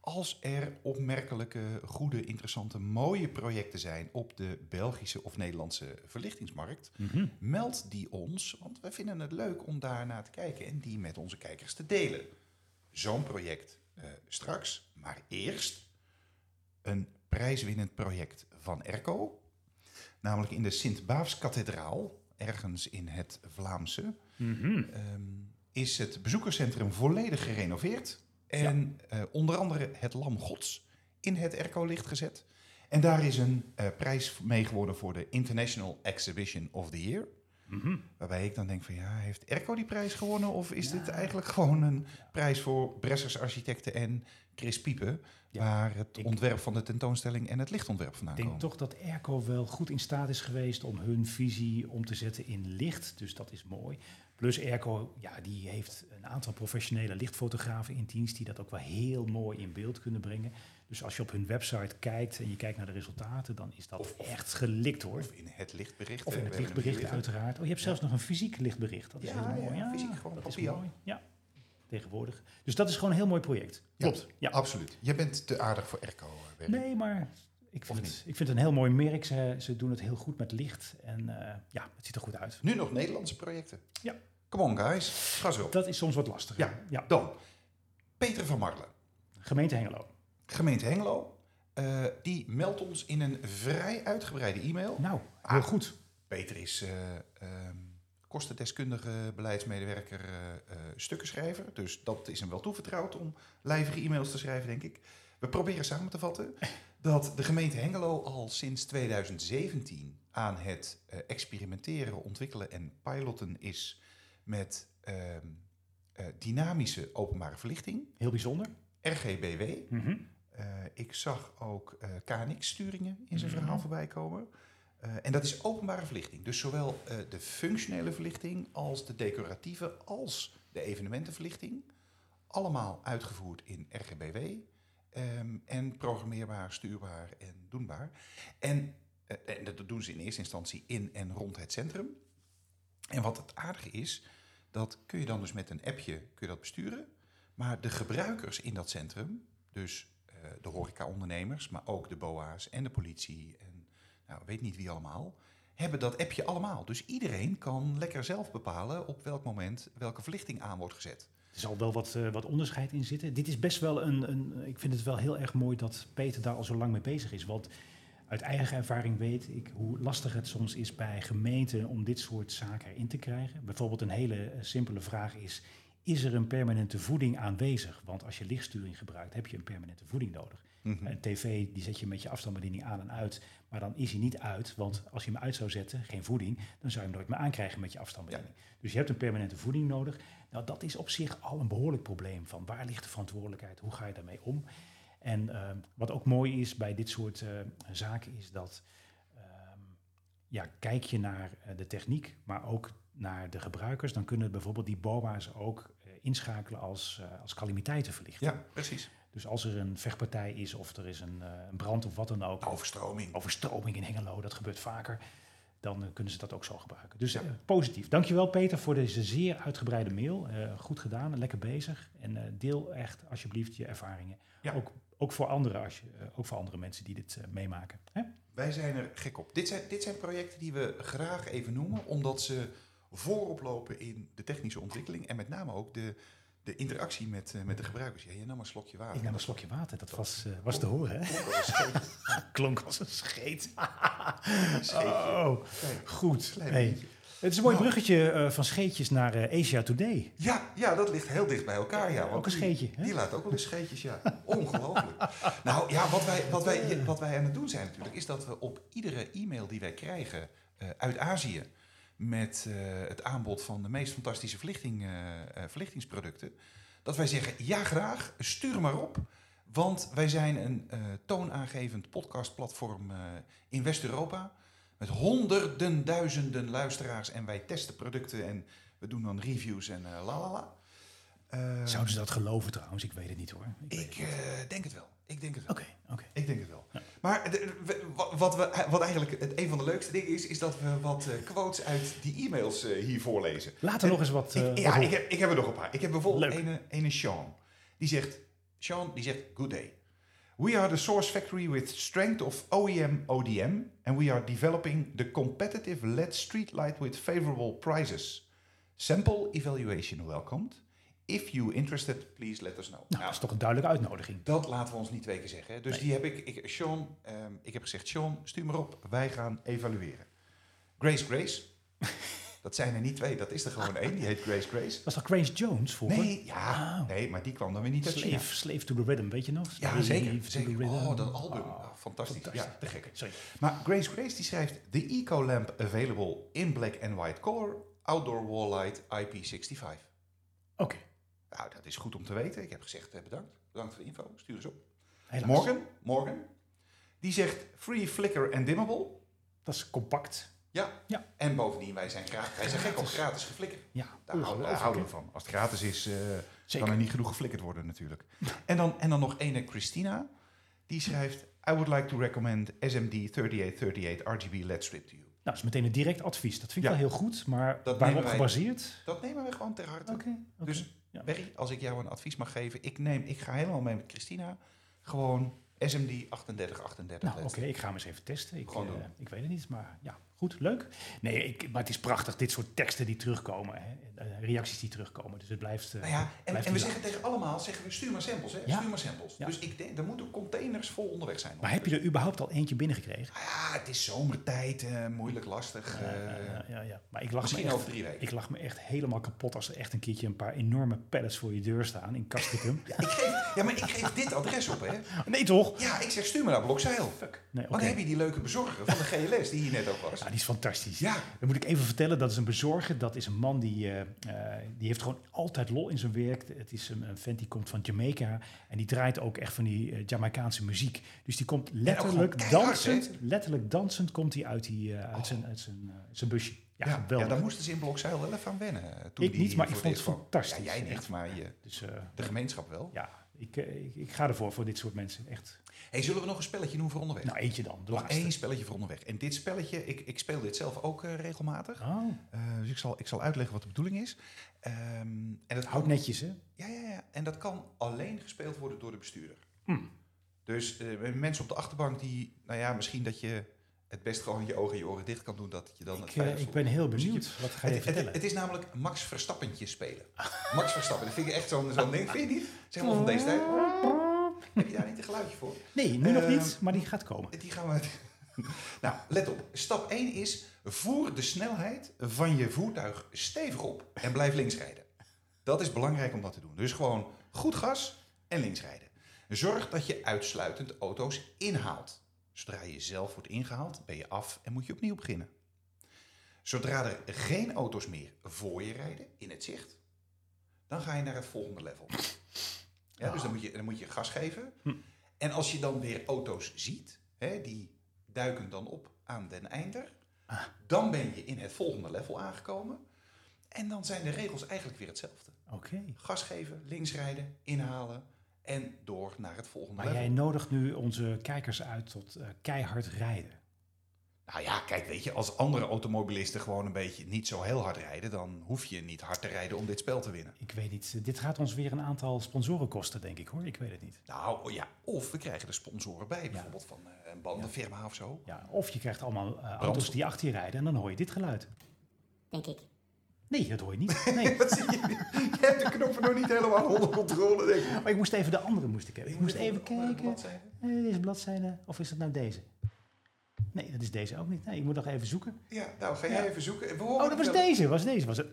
Als er opmerkelijke, goede, interessante, mooie projecten zijn op de Belgische of Nederlandse verlichtingsmarkt,
Mhm.
meld die ons, want we vinden het leuk om daar naar te kijken en die met onze kijkers te delen. Zo'n project eh, straks, maar eerst een prijswinnend project van Erco. Namelijk in de Sint-Baafskathedraal, ergens in het Vlaamse,
Mhm.
ehm, is het bezoekerscentrum volledig gerenoveerd. En eh, onder andere het Lam Gods in het Erco-licht gezet. En daar is een eh, prijs mee geworden voor de International Exhibition of the Year.
Mhm.
Waarbij ik dan denk van ja, heeft Erco die prijs gewonnen? Of is dit eigenlijk gewoon een prijs voor Bressers Architecten en Chris Piepen?
Ja,
waar het
ik-
ontwerp van de tentoonstelling en het lichtontwerp vandaan
Ik denk
komen.
toch dat Erco wel goed in staat is geweest om hun visie om te zetten in licht. Dus dat is mooi. Plus Erco, ja, die heeft een aantal professionele lichtfotografen in dienst die dat ook wel heel mooi in beeld kunnen brengen. Dus als je op hun website kijkt en je kijkt naar de resultaten, dan is dat echt gelikt hoor.
Of in het lichtbericht. eh,
Of
hè,
in het
we hebben hem
lichtbericht
hier liggen.
uiteraard. Oh, je hebt zelfs nog een fysiek lichtbericht. Dat is
Ja,
heel mooi.
ja, fysiek, gewoon
dat
papier.
Is mooi. Ja, tegenwoordig. Dus dat is gewoon een heel mooi project.
Ja.
Klopt. Ja.
Absoluut. Je bent te aardig voor Erco. eh, Berry.
Nee, maar ik
Of
vind, het, ik vind het een heel mooi merk. Ze, ze doen het heel goed met licht. En eh, ja, het ziet er goed uit.
Nu nog Nederlandse projecten.
Ja.
Come on guys, gas op.
Dat is soms wat lastig.
Ja. Dan, Peter van Marlen.
Gemeente Hengelo.
gemeente Hengelo. eh, die meldt ons in een vrij uitgebreide e-mail.
Nou,
Ah.
heel goed.
Peter is eh, ehm, kostendeskundige beleidsmedewerker, eh, eh, stukkenschrijver. Dus dat is hem wel toevertrouwd om lijvige e-mails te schrijven, denk ik. We proberen samen te vatten dat de gemeente Hengelo al sinds 2017 aan het eh, experimenteren, ontwikkelen en piloten is met ehm, eh, dynamische openbare verlichting,
Heel bijzonder.
RGBW.
Mhm.
Eh, ik zag ook eh, KNX-sturingen in zijn verhaal voorbij komen. Eh, en dat is openbare verlichting. Dus zowel eh, de functionele verlichting als de decoratieve als de evenementenverlichting. Allemaal uitgevoerd in RGBW. ehm, en programmeerbaar, stuurbaar en doenbaar. En, eh, en dat doen ze in eerste instantie in en rond het centrum. En wat het aardige is, dat kun je dan dus met een appje kun je dat besturen. Maar de gebruikers in dat centrum, dus eh, de horecaondernemers, maar ook de BOA's en de politie en nou, weet niet wie allemaal, hebben dat appje allemaal. Dus iedereen kan lekker zelf bepalen op welk moment welke verlichting aan wordt gezet.
Er zal wel wat, eh, wat onderscheid in zitten. Dit is best wel een, een. Ik vind het wel heel erg mooi dat Peter daar al zo lang mee bezig is. Want uit eigen ervaring weet ik hoe lastig het soms is bij gemeenten om dit soort zaken erin te krijgen. Bijvoorbeeld een hele eh, simpele vraag is: is er een permanente voeding aanwezig? Want als je lichtsturing gebruikt, heb je een permanente voeding nodig. Een tv die zet je met je afstandsbediening aan en uit, maar dan is hij niet uit, want als je hem uit zou zetten, geen voeding, dan zou je hem nooit meer aankrijgen met je afstandsbediening. Dus je hebt een permanente voeding nodig. Nou, dat is op zich al een behoorlijk probleem van waar ligt de verantwoordelijkheid, hoe ga je daarmee om? En ehm, wat ook mooi is bij dit soort eh, zaken is dat, ehm, ja, kijk je naar eh, de techniek, maar ook naar de gebruikers, dan kunnen bijvoorbeeld die BOA's ook eh, inschakelen als, eh als calamiteitenverlichting.
Ja, precies.
Dus als er een vechtpartij is of er is een, eh, een brand of wat dan ook,
Overstroming.
overstroming in Hengelo, dat gebeurt vaker, dan eh, kunnen ze dat ook zo gebruiken. Dus eh, positief. Dankjewel Peter voor deze zeer uitgebreide mail. Eh, goed gedaan, lekker bezig. En eh, deel echt alsjeblieft je ervaringen.
Ja.
Ook, ook, voor anderen als je, eh, ook voor andere mensen die dit eh, meemaken. Hè?
Wij zijn er gek op. Dit zijn, dit zijn projecten die we graag even noemen, omdat ze voorop lopen in de technische ontwikkeling en met name ook de, de interactie met, eh, met de gebruikers. Ja, je nam een slokje water.
Ik nam een slokje water, dat was, eh, was te horen. Hè?
Klonk als een Oh, scheet.
*laughs* Klonk als een scheet.
scheetje.
Oh,
Kijk,
goed.
klein
Hey.
beetje.
Het is een mooi
Nou.
bruggetje eh, van scheetjes naar eh, Asia Today.
Ja, ja, dat ligt heel dicht bij elkaar. Ja, want
Ook een
die-
scheetje, hè?
Die, laat ook wel eens scheetjes, ja. Ongelooflijk. *laughs* Nou ja, wat wij, wat, wij, wat wij aan het doen zijn natuurlijk, is dat we op iedere e-mail die wij krijgen eh, uit Azië. met eh, het aanbod van de meest fantastische verlichting, eh, eh, verlichtingsproducten. dat wij zeggen: ja, graag, stuur maar op. Want wij zijn een eh, toonaangevend podcastplatform eh, in West-Europa. Met honderden, duizenden luisteraars. En wij testen producten en we doen dan reviews en eh, la la la. Eh,
Zouden ze dat geloven trouwens? Ik weet het niet hoor. Ik weet het
Ik
niet.
eh, denk het wel. Ik denk het wel.
Oké, oké.
Ik denk het wel. Maar de- we- wa- wat, we, eh, wat eigenlijk het, een van de leukste dingen is, is dat we wat eh, quotes uit die e-mails eh, hier voorlezen.
Laten we nog eens wat... eh,
Ik, ja,
wat
ik heb, ik heb er nog een paar. Ik heb bijvoorbeeld
Leuk.
een, een Sean. Die zegt, Sean, die zegt, good day. We are the source factory with strength of E OEM ODM and we are developing the competitive LED streetlight with favorable prices. Sample evaluation welcomed. If you interested, please let us know.
Nou, dat is toch een duidelijke uitnodiging.
Dat laten we ons niet twee keer zeggen. hè. Dus die heb ik, ik Sean, ehm, ik heb gezegd, Sean, stuur maar op. Wij gaan evalueren. Grace Grace. Dat zijn er niet twee, dat is er gewoon één. Die heet Grace Grace.
Was dat Grace Jones vroeger?
Nee, ja,
Ah.
nee, maar die kwam dan weer niet uit China.
Slave, Slave to the Rhythm, weet je nog?
Ja,
Slave
zeker.
to the
zeker.
Rhythm.
Oh, dat album. Ah, fantastisch.
fantastisch.
Ja, te gek.
Sorry.
Maar Grace Grace die schrijft... The Eco Lamp available in black and white color. Outdoor wall light IP65.
Oké,
Nou, dat is goed om te weten. Ik heb gezegd eh, bedankt. Bedankt voor de info. Stuur eens op.
helaas.
Morgan, Morgan. Die zegt free, flicker en dimmable.
Dat is compact.
Ja.
Ja.
En bovendien, wij zijn, graag, wij zijn gek op gratis geflikker.
Ja,
Daar houden, daar
ongelooflijk,
houden
hè?
we van. Als het gratis is, eh,
Zeker.
kan er niet genoeg geflikkerd worden
*laughs*
natuurlijk. en, dan, en dan nog ene Christina. Die schrijft... I would like to recommend SMD 3838 RGB LED strip to you.
Nou, dat is meteen een direct advies. Dat vind ik
Ja.
wel heel goed, maar
Dat
waarop
nemen wij.
gebaseerd?
Dat nemen we gewoon ter harte.
Oké. oké.
Dus
ja.
Berry, als ik jou een advies mag geven... Ik, neem, ik ga helemaal mee met Christina. Gewoon SMD 3838
Nou,
LED.
oké, ik ga hem eens even testen. Ik,
Gewoon
eh,
doen.
ik weet het niet, maar ja, goed, leuk. Nee, ik, maar het is prachtig, dit soort teksten die terugkomen, hè, eh, reacties die terugkomen. Dus het blijft. eh,
Nou ja, en,
blijft
en we
leuk.
zeggen tegen allemaal, zeggen we, stuur maar samples. Hè?
Ja.
Stuur maar samples.
Ja.
Dus ik denk, er moeten containers vol onderweg zijn. Nou
Maar heb je er überhaupt al eentje binnengekregen?
Ja, het is zomertijd, eh, moeilijk, lastig. eh,
ja, ja, ja. Maar ik lag, me
misschien
echt,
over drie weken.
ik lag me echt helemaal kapot als er echt een keertje een paar enorme pallets voor je deur staan in Castricum.
*laughs* Ja, ik geef, ja, maar ik geef dit adres op, hè.
Nee, toch?
Ja, ik zeg, stuur me naar Blokzeil.
Nee, oké.
Want dan heb je die leuke bezorger van de GLS die hier net ook was.
Ja, die is fantastisch.
Ja.
Dan moet ik even vertellen, dat is een bezorger. Dat is een man die, eh, eh, die heeft gewoon altijd lol in zijn werk. Het is een, een vent die komt van Jamaica. En die draait ook echt van die eh, Jamaicaanse muziek. Dus die komt letterlijk
gewoon keihard, Oh.
dansend. Letterlijk dansend komt hij uit, die, eh, uit, zijn, uit zijn, eh, zijn busje. Ja,
ja,
geweldig.
daar moesten ze in Blokzeil wel even aan wennen. eh, Toen
Ik
die
niet, maar
hier voor
ik vond
het
het
eerst kwam.
fantastisch.
Ja, jij
Echt.
niet, maar je,
Dus eh,
de gemeenschap wel.
ja, ik, eh, ik, ik ga ervoor voor dit soort mensen. Echt.
Hey, zullen we nog een spelletje doen voor onderweg?
Nou, eentje dan. De
nog
laatste.
één spelletje voor onderweg. En dit spelletje, ik, ik speel dit zelf ook eh, regelmatig.
Oh,
Eh, dus ik zal, ik zal uitleggen wat de bedoeling is. Ehm, en dat
houd
houdt
netjes, hè?
Ja, ja, ja. En dat kan alleen gespeeld worden door de bestuurder. Dus eh, mensen op de achterbank die, nou ja, misschien dat je het best gewoon je ogen en je oren dicht kan doen, dat je dan het
Ik, eh,
veilig
ik
voelt.
ben heel benieuwd. Wat ga je
Het,
vertellen?
het, het is namelijk Max Verstappentje spelen. Max Verstappen, dat vind ik echt zo'n zo'n ding, vind je niet?
*laughs*
Zeg maar van deze tijd. Heb je daar niet een geluidje voor?
nee, nu nog
eh,
niet, maar die gaat komen.
Die gaan we... *laughs* Nou, let op. Stap 1 is, voer de snelheid van je voertuig stevig op en blijf links rijden. Dat is belangrijk om dat te doen. Dus gewoon goed gas en links rijden. Zorg dat je uitsluitend auto's inhaalt. Zodra je zelf wordt ingehaald, ben je af en moet je opnieuw beginnen. Zodra er geen auto's meer voor je rijden, in het zicht, dan ga je naar het volgende level. Ja, dus dan moet, je, dan moet je gas geven. En als je dan weer auto's ziet, hè, die duiken dan op aan den einder.
Ah.
Dan ben je in het volgende level aangekomen. En dan zijn de regels eigenlijk weer hetzelfde.
Oké.
Gas geven, links rijden, inhalen en door naar het volgende
Maar
level.
jij nodigt nu onze kijkers uit tot eh, keihard rijden.
Nou ja, kijk, weet je, als andere automobilisten gewoon een beetje niet zo heel hard rijden, dan hoef je niet hard te rijden om dit spel te winnen.
Ik weet niet, eh, dit gaat ons weer een aantal sponsoren kosten, denk ik hoor. Ik weet het niet.
Nou ja, of we krijgen er sponsoren bij, bijvoorbeeld van eh, een bandenfirma of zo. *laughs*
Ja, of je krijgt allemaal eh, auto's
Brandstof.
die achter je rijden en dan hoor je dit geluid.
denk ik.
Nee, dat hoor je niet. *laughs* Nee.
Wat zie je? Je hebt de knoppen nog niet helemaal onder controle, denk ik.
Maar Oh, ik moest even de andere moest ik hebben. Ik moest even
eh,
kijken.
bladzijde.
Eh, deze bladzijde, of is dat nou deze? Nee, dat is deze ook niet. Nee, ik moet nog even zoeken.
Ja, nou, ga jij even zoeken. We horen
Oh, dat was
het wel.
deze, was deze, was het.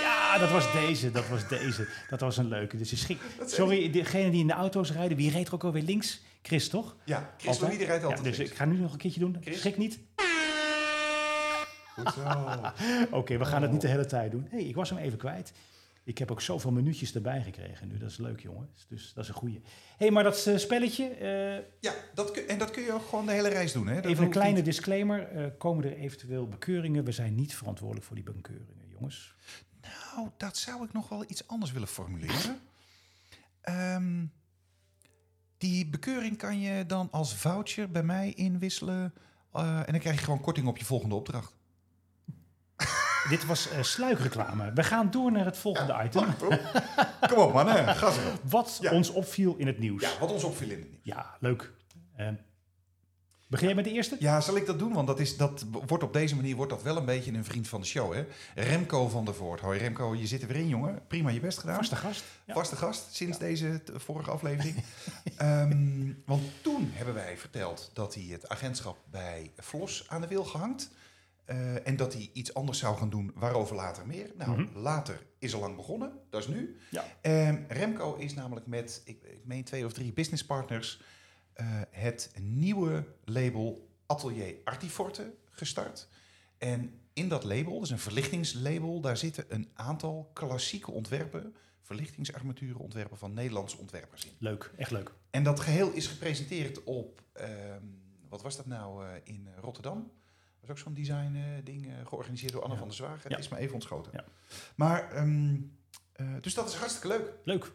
Ja, dat was deze, dat was deze. Dat was een leuke, dus je *laughs* schik. Sorry, degene die in de auto's rijden, wie reed er ook alweer links? Chris, toch?
Ja, Chris
Altijd.
Louis rijdt altijd
Ja, dus
links.
ik ga nu nog een keertje doen.
Chris?
Schrik niet.
Goed
*laughs*
zo.
Oké, we gaan het niet de
Oh.
hele tijd doen. hey, ik was hem even kwijt. Ik heb ook zoveel minuutjes erbij gekregen nu. Dat is leuk, jongens. Dus dat is een goeie. hey, maar dat eh, spelletje... eh,
Ja, dat kun, en dat kun je ook gewoon de hele reis doen, hè? Dat
even een
hoeft
kleine
niet-
disclaimer. eh, komen er eventueel bekeuringen? We zijn niet verantwoordelijk voor die bekeuringen, jongens.
Nou, dat zou ik nog wel iets anders willen
*laughs*
formuleren. Ehm, die bekeuring kan je dan als voucher bij mij inwisselen. eh, en dan krijg je gewoon korting op je volgende
*laughs*
opdracht.
Dit was eh, sluikreclame. We gaan door naar het volgende item.
Kom op, man. hè. Gas erop.
Wat
Ja.
ons opviel in het nieuws. Ja,
Ja, wat ons opviel in het nieuws.
leuk. Eh, begin jij met de eerste?
Ja, zal ik dat doen? Want dat is, dat wordt op deze manier wordt dat wel een beetje een vriend van de show. Hè? Remco van der Voort. Hoi Remco, je zit er weer in, jongen. Prima je best gedaan.
Vaste gast. Ja.
Vaste gast sinds deze t- vorige
*laughs*
aflevering. Ehm, want toen hebben wij verteld dat hij het agentschap bij Vlos aan de wil gehangt. Eh, en dat hij iets anders zou gaan doen, waarover later meer. Nou,
Mhm.
later is al lang begonnen, dat is nu.
Ja.
Ehm, Remco is namelijk met, ik, ik meen twee of drie businesspartners, eh, het nieuwe label Atelier Artiforte gestart. En in dat label, dat is een verlichtingslabel, daar zitten een aantal klassieke ontwerpen, verlichtingsarmaturen ontwerpen van Nederlandse ontwerpers in.
Leuk, echt leuk.
En dat geheel is gepresenteerd op, ehm, wat was dat nou, eh, in eh, Rotterdam. Dat was ook zo'n design eh, ding eh, georganiseerd door Anne
Ja.
van der Zwaag. Het
Ja.
is me even ontschoten.
Ja.
Maar, ehm, eh, dus dat is hartstikke leuk.
Leuk.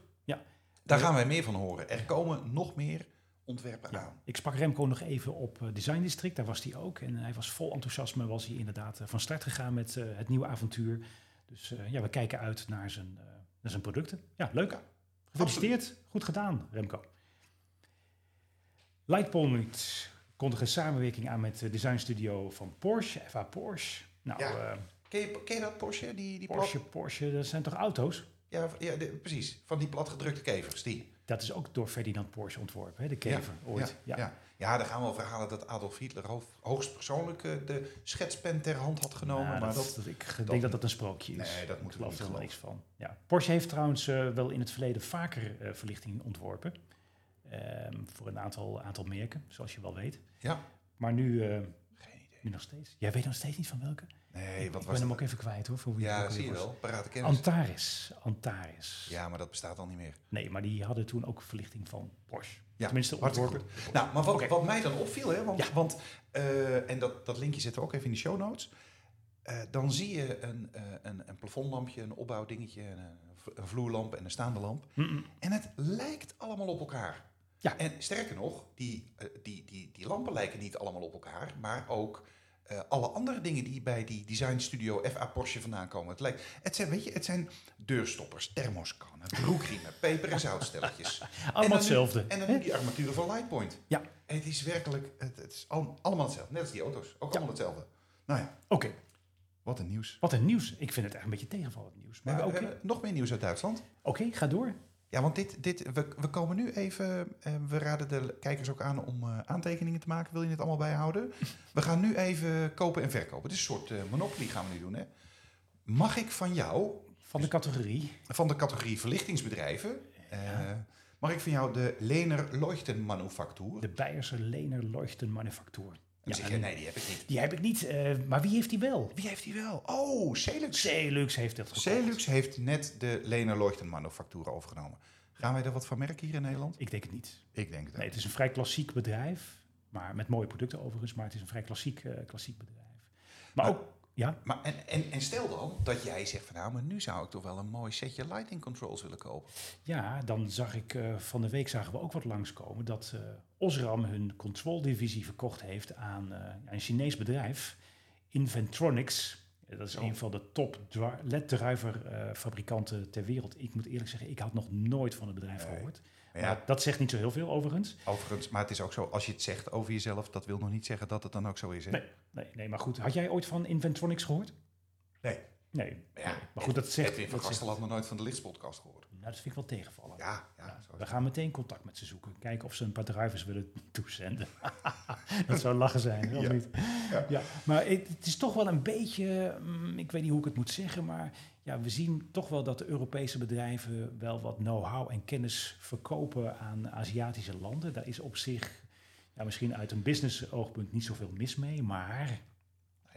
Daar
Ja.
gaan wij meer van horen. Er komen nog meer ontwerpen
Ja.
aan.
Ik sprak Remco nog even op eh, Design District, daar was hij ook. En hij was vol enthousiasme, was hij inderdaad eh, van start gegaan met eh, het nieuwe avontuur. Dus eh, ja, we kijken uit naar zijn, eh, naar zijn producten. Ja, leuk.
Ja,
Gefeliciteerd. Goed gedaan, Remco. Lightpoint kondigde een samenwerking aan met de designstudio van Porsche, FA Porsche. Nou,
Ja.
eh,
Ken je, ken je dat Porsche? Die, die
Porsche, Porsche, dat zijn toch auto's?
Plat, ja, v- ja de- precies. Van die platgedrukte kevers, die.
Dat is ook door Ferdinand Porsche ontworpen, hè? de kever ooit.
Ja, ja. ja. daar gaan we al verhalen dat Adolf Hitler hoog- hoogstpersoonlijk eh, de schetspen ter hand had genomen.
Nou,
maar
dat,
dat,
dat- ik denk dat dat een sprookje is.
Nee, dat moeten we
ik geloof
niet
er helemaal
geloven.
niks van. Ja. Porsche heeft trouwens eh, wel in het verleden vaker eh, verlichting ontworpen. Ehm, voor een aantal, aantal merken, zoals je wel weet.
Ja.
Maar nu, eh,
Geen idee.
nu nog steeds. Jij weet nog steeds niet van welke?
Nee, wat
ik
was
ben hem
dat?
ook even kwijt hoor. Voor wie het ook
Ja,
weer
zie je
was.
wel. Parate kennis.
Antares. Antares.
Ja, maar dat bestaat al niet meer.
Nee, maar die hadden toen ook verlichting van Porsche.
Ja,
Tenminste
hartstikke
ontworpen.
Nou, maar wat,
Oké.
wat mij dan opviel, hè, want,
Ja.
want eh, en dat, dat linkje zetten we ook even in de show notes. Eh, dan zie je een, eh, een, een plafondlampje, een opbouwdingetje, een, eh, v- een vloerlamp en een staande lamp.
Mm-mm.
En het lijkt allemaal op elkaar.
Ja.
En sterker nog, die, eh, die, die, die lampen lijken niet allemaal op elkaar, maar ook eh, alle andere dingen die bij die designstudio FA Porsche vandaan komen. Het, lijkt, het, zijn, weet je, het zijn deurstoppers, thermoskannen,
*laughs*
broekriemen, peper- en zoutstelletjes. En
Allemaal
dan nu-
hetzelfde.
En dan
hè?
nu die armaturen van Lightpoint.
Ja.
Het is werkelijk, het, het is al- allemaal hetzelfde. Net als die auto's, ook allemaal hetzelfde. Nou ja,
Oké,
wat een nieuws.
wat een nieuws. Ik vind het echt een beetje tegenvallend nieuws.
Maar
Maar
we
oké,
hebben nog meer nieuws uit Duitsland.
Oké, ga door.
Ja, want dit, dit, we, we komen nu even, eh, we raden de kijkers ook aan om eh, aantekeningen te maken. Wil je het allemaal
*laughs*
bijhouden? We gaan nu even kopen en verkopen. Het is een soort eh, monopoly gaan we nu doen, hè. Mag ik van jou,
Van
dus-
de categorie.
van de categorie verlichtingsbedrijven... eh, mag ik van jou de Lener Leuchtenmanufactuur?
De Beierse Lener Leuchtenmanufactuur.
Dan zeg je, nee, die heb ik niet.
Die heb ik niet, eh, maar wie heeft die wel?
Wie heeft die wel? Oh, Celux.
Celux heeft dat gekocht.
Celux heeft net de Lena Leuchtenmanufactuur overgenomen. Gaan wij er wat van merken hier in Nederland?
Ik denk het niet.
Ik denk dat.
Nee, het is een vrij klassiek bedrijf. Maar met mooie producten overigens. Maar het is een vrij klassiek, eh, klassiek bedrijf. Maar,
Maar-
ook, ja,
Maar en, en, en stel dan dat jij zegt van nou, maar nu zou ik toch wel een mooi setje lighting controls willen kopen.
ja, dan zag ik eh, van de week zagen we ook wat langskomen. Dat eh, Osram hun controldivisie verkocht heeft aan eh, een Chinees bedrijf. Inventronics. Eh, Dat is
Zo.
een van de top dra- leddruiver eh, fabrikanten ter wereld. Ik moet eerlijk zeggen, ik had nog nooit van het bedrijf
Nee.
gehoord.
Maar
Maar
ja,
dat zegt niet zo heel veel overigens.
overigens, maar het is ook zo, als je het zegt over jezelf, dat wil nog niet zeggen dat het dan ook zo is. Hè?
Nee, nee, nee, maar goed. Had jij ooit van Inventronics gehoord?
Nee.
Nee.
Maar ja,
Maar goed, dat zegt...
Edwin van
dat, zegt-
Gastel had nog nooit van de Lichtspodcast gehoord.
nou, dat vind ik wel tegenvallen.
Ja, ja,
Ja,
zo is
we
het.
gaan meteen contact met ze zoeken. Kijken of ze een paar drivers willen *laughs* toezenden. dat zou lachen zijn, of
Ja.
niet? Ja. Maar het, het is toch wel een beetje... mm, ik weet niet hoe ik het moet zeggen, maar... Ja, we zien toch wel dat de Europese bedrijven wel wat know-how en kennis verkopen aan Aziatische landen. Daar is op zich ja, misschien uit een business oogpunt niet zoveel mis mee, maar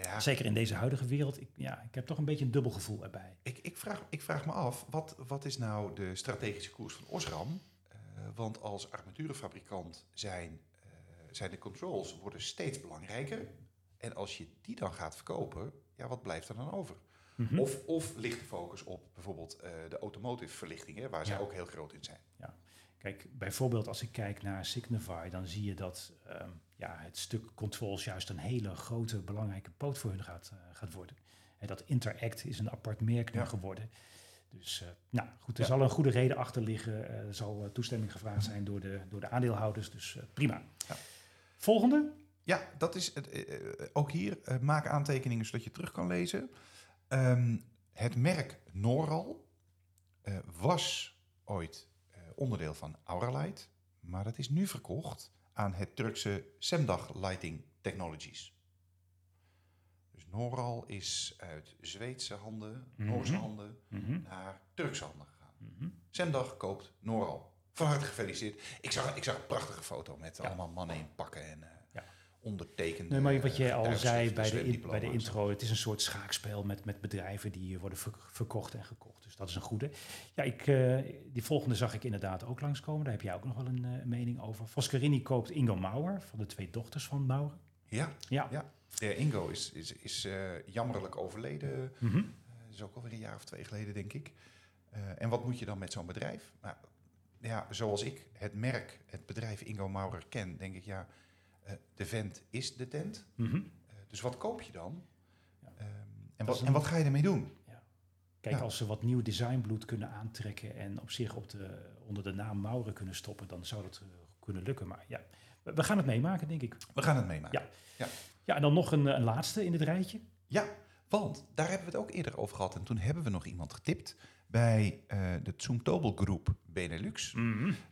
ja.
Zeker in deze huidige wereld. Ik, ja, ik heb toch een beetje een dubbel gevoel erbij.
Ik, ik, vraag, ik vraag me af, wat, wat is nou de strategische koers van Osram? Eh, want als armaturenfabrikant zijn, eh, zijn de controls worden steeds belangrijker. En als je die dan gaat verkopen, ja, wat blijft er dan over?
Mhm.
Of, of ligt de focus op bijvoorbeeld eh, de automotive verlichting, hè, waar zij
Ja.
ook heel groot in zijn.
Kijk, bijvoorbeeld als ik kijk naar Signify, dan zie je dat ehm, ja, het stuk controls juist een hele grote belangrijke poot voor hun gaat, eh, gaat worden. En dat Interact is een apart merk nu
Ja.
geworden. Dus eh, nou goed, er
Ja.
zal een goede reden achter liggen. Eh, er zal eh, toestemming gevraagd zijn door de, door de aandeelhouders. Dus eh, prima.
Ja.
Volgende.
Ja, dat is het, eh, eh, ook hier. eh, maak aantekeningen zodat je terug kan lezen. Ehm, het merk Noral eh, was ooit eh, onderdeel van Auralight, maar dat is nu verkocht aan het Turkse Semdag Lighting Technologies. Dus Noral is uit Zweedse handen,
Mhm.
Noorse handen,
Mhm.
naar Turkse handen gegaan.
Mhm.
Zemdag koopt Noral. Van harte gefeliciteerd. Ik zag, ik zag een prachtige foto met allemaal mannen in pakken en eh
Ja.
ondertekende...
Nee, maar wat
eh,
jij al zei
getuigschriften,
bij de, in- bij de
zweetdiploma's.
intro, het is een soort schaakspel met, met bedrijven die worden ver- verkocht en gekocht. Dus dat is een goede. Ja, ik, eh, die volgende zag ik inderdaad ook langskomen. Daar heb jij ook nog wel een eh, mening over. Foscarini koopt Ingo Maurer van de twee dochters van Maurer.
Ja,
Ja.
ja. De Ingo is, is, is eh, jammerlijk overleden.
Mhm.
Dat is ook alweer een jaar of twee geleden, denk ik. Eh, en wat moet je dan met zo'n bedrijf? Nou, ja, zoals ik het merk, het bedrijf Ingo Maurer ken, denk ik ja, eh, de vent is de tent.
Mhm.
Eh, dus wat koop je dan?
Ja.
Ehm, en,
Dat
wat,
is een-
en wat ga je ermee doen?
Kijk,
Ja.
als ze wat nieuw designbloed kunnen aantrekken en op zich op de, onder de naam Maurer kunnen stoppen, dan zou dat eh, kunnen lukken. Maar ja, we, we gaan het meemaken, denk ik.
We gaan het meemaken.
Ja. Ja, en dan nog een, eh, een laatste in dit rijtje.
Ja, want daar hebben we het ook eerder over gehad. En toen hebben we nog iemand getipt bij eh, de Zoomtobel Groep
Mhm.
Benelux.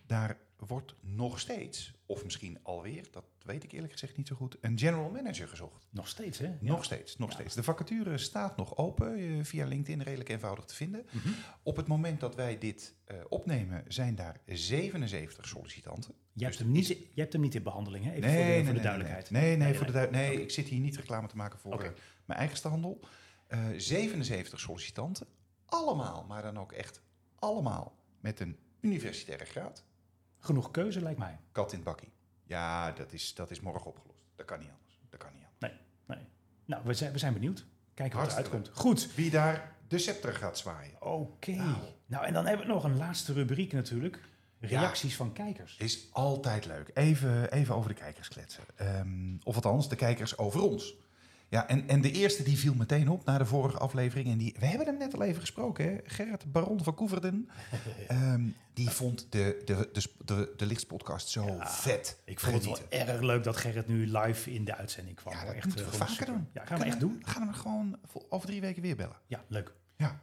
Daar wordt nog steeds, of misschien alweer, dat weet ik eerlijk gezegd niet zo goed, een general manager gezocht.
Nog steeds, hè?
Nog steeds, nog
Ja.
steeds. De vacature staat nog open, eh, via LinkedIn redelijk eenvoudig te vinden.
Mhm.
Op het moment dat wij dit eh, opnemen, zijn daar 77 sollicitanten.
Jij hebt,
Dus
hem niet, jij hebt hem niet in behandeling, hè? Even voor de, voor de duidelijkheid.
Nee, nee,
Nee,
voor de
nee.
duid- nee
Oké.
ik zit hier niet reclame te maken voor
Oké.
eh, mijn eigen standel. Eh 77 sollicitanten, allemaal, maar dan ook echt allemaal met een universitaire graad.
Genoeg keuze, lijkt mij.
Kat in het bakkie. Ja, dat is, dat is morgen opgelost. Dat kan niet anders. Dat kan niet anders.
Nou, we zijn, we zijn benieuwd. Kijken wat eruit
Hartstikke
komt. Goed.
Wie daar de scepter gaat zwaaien,
Oké.
Nou.
Nou, en dan hebben we nog een laatste rubriek natuurlijk. Reacties van kijkers.
is altijd leuk. Even, even over de kijkers kletsen. Ehm, of althans, de kijkers over ons. Ja, en, en de eerste die viel meteen op na de vorige aflevering. En die, we hebben hem net al even gesproken, hè? Gerrit Baron van
*laughs*
Koeverden. Ehm, die vond de, de, de, sp- de, de Lichtspodcast zo vet.
Ik vond het wel
Genieten.
erg leuk dat Gerrit nu live in de uitzending kwam.
Ja,
hoor.
dat
echt,
moeten
eh,
we
gewoon
vaker
super.
doen.
Ja, gaan we echt doen.
Gaan we hem gewoon vol- over drie weken weer bellen.
Ja, leuk.
Ja.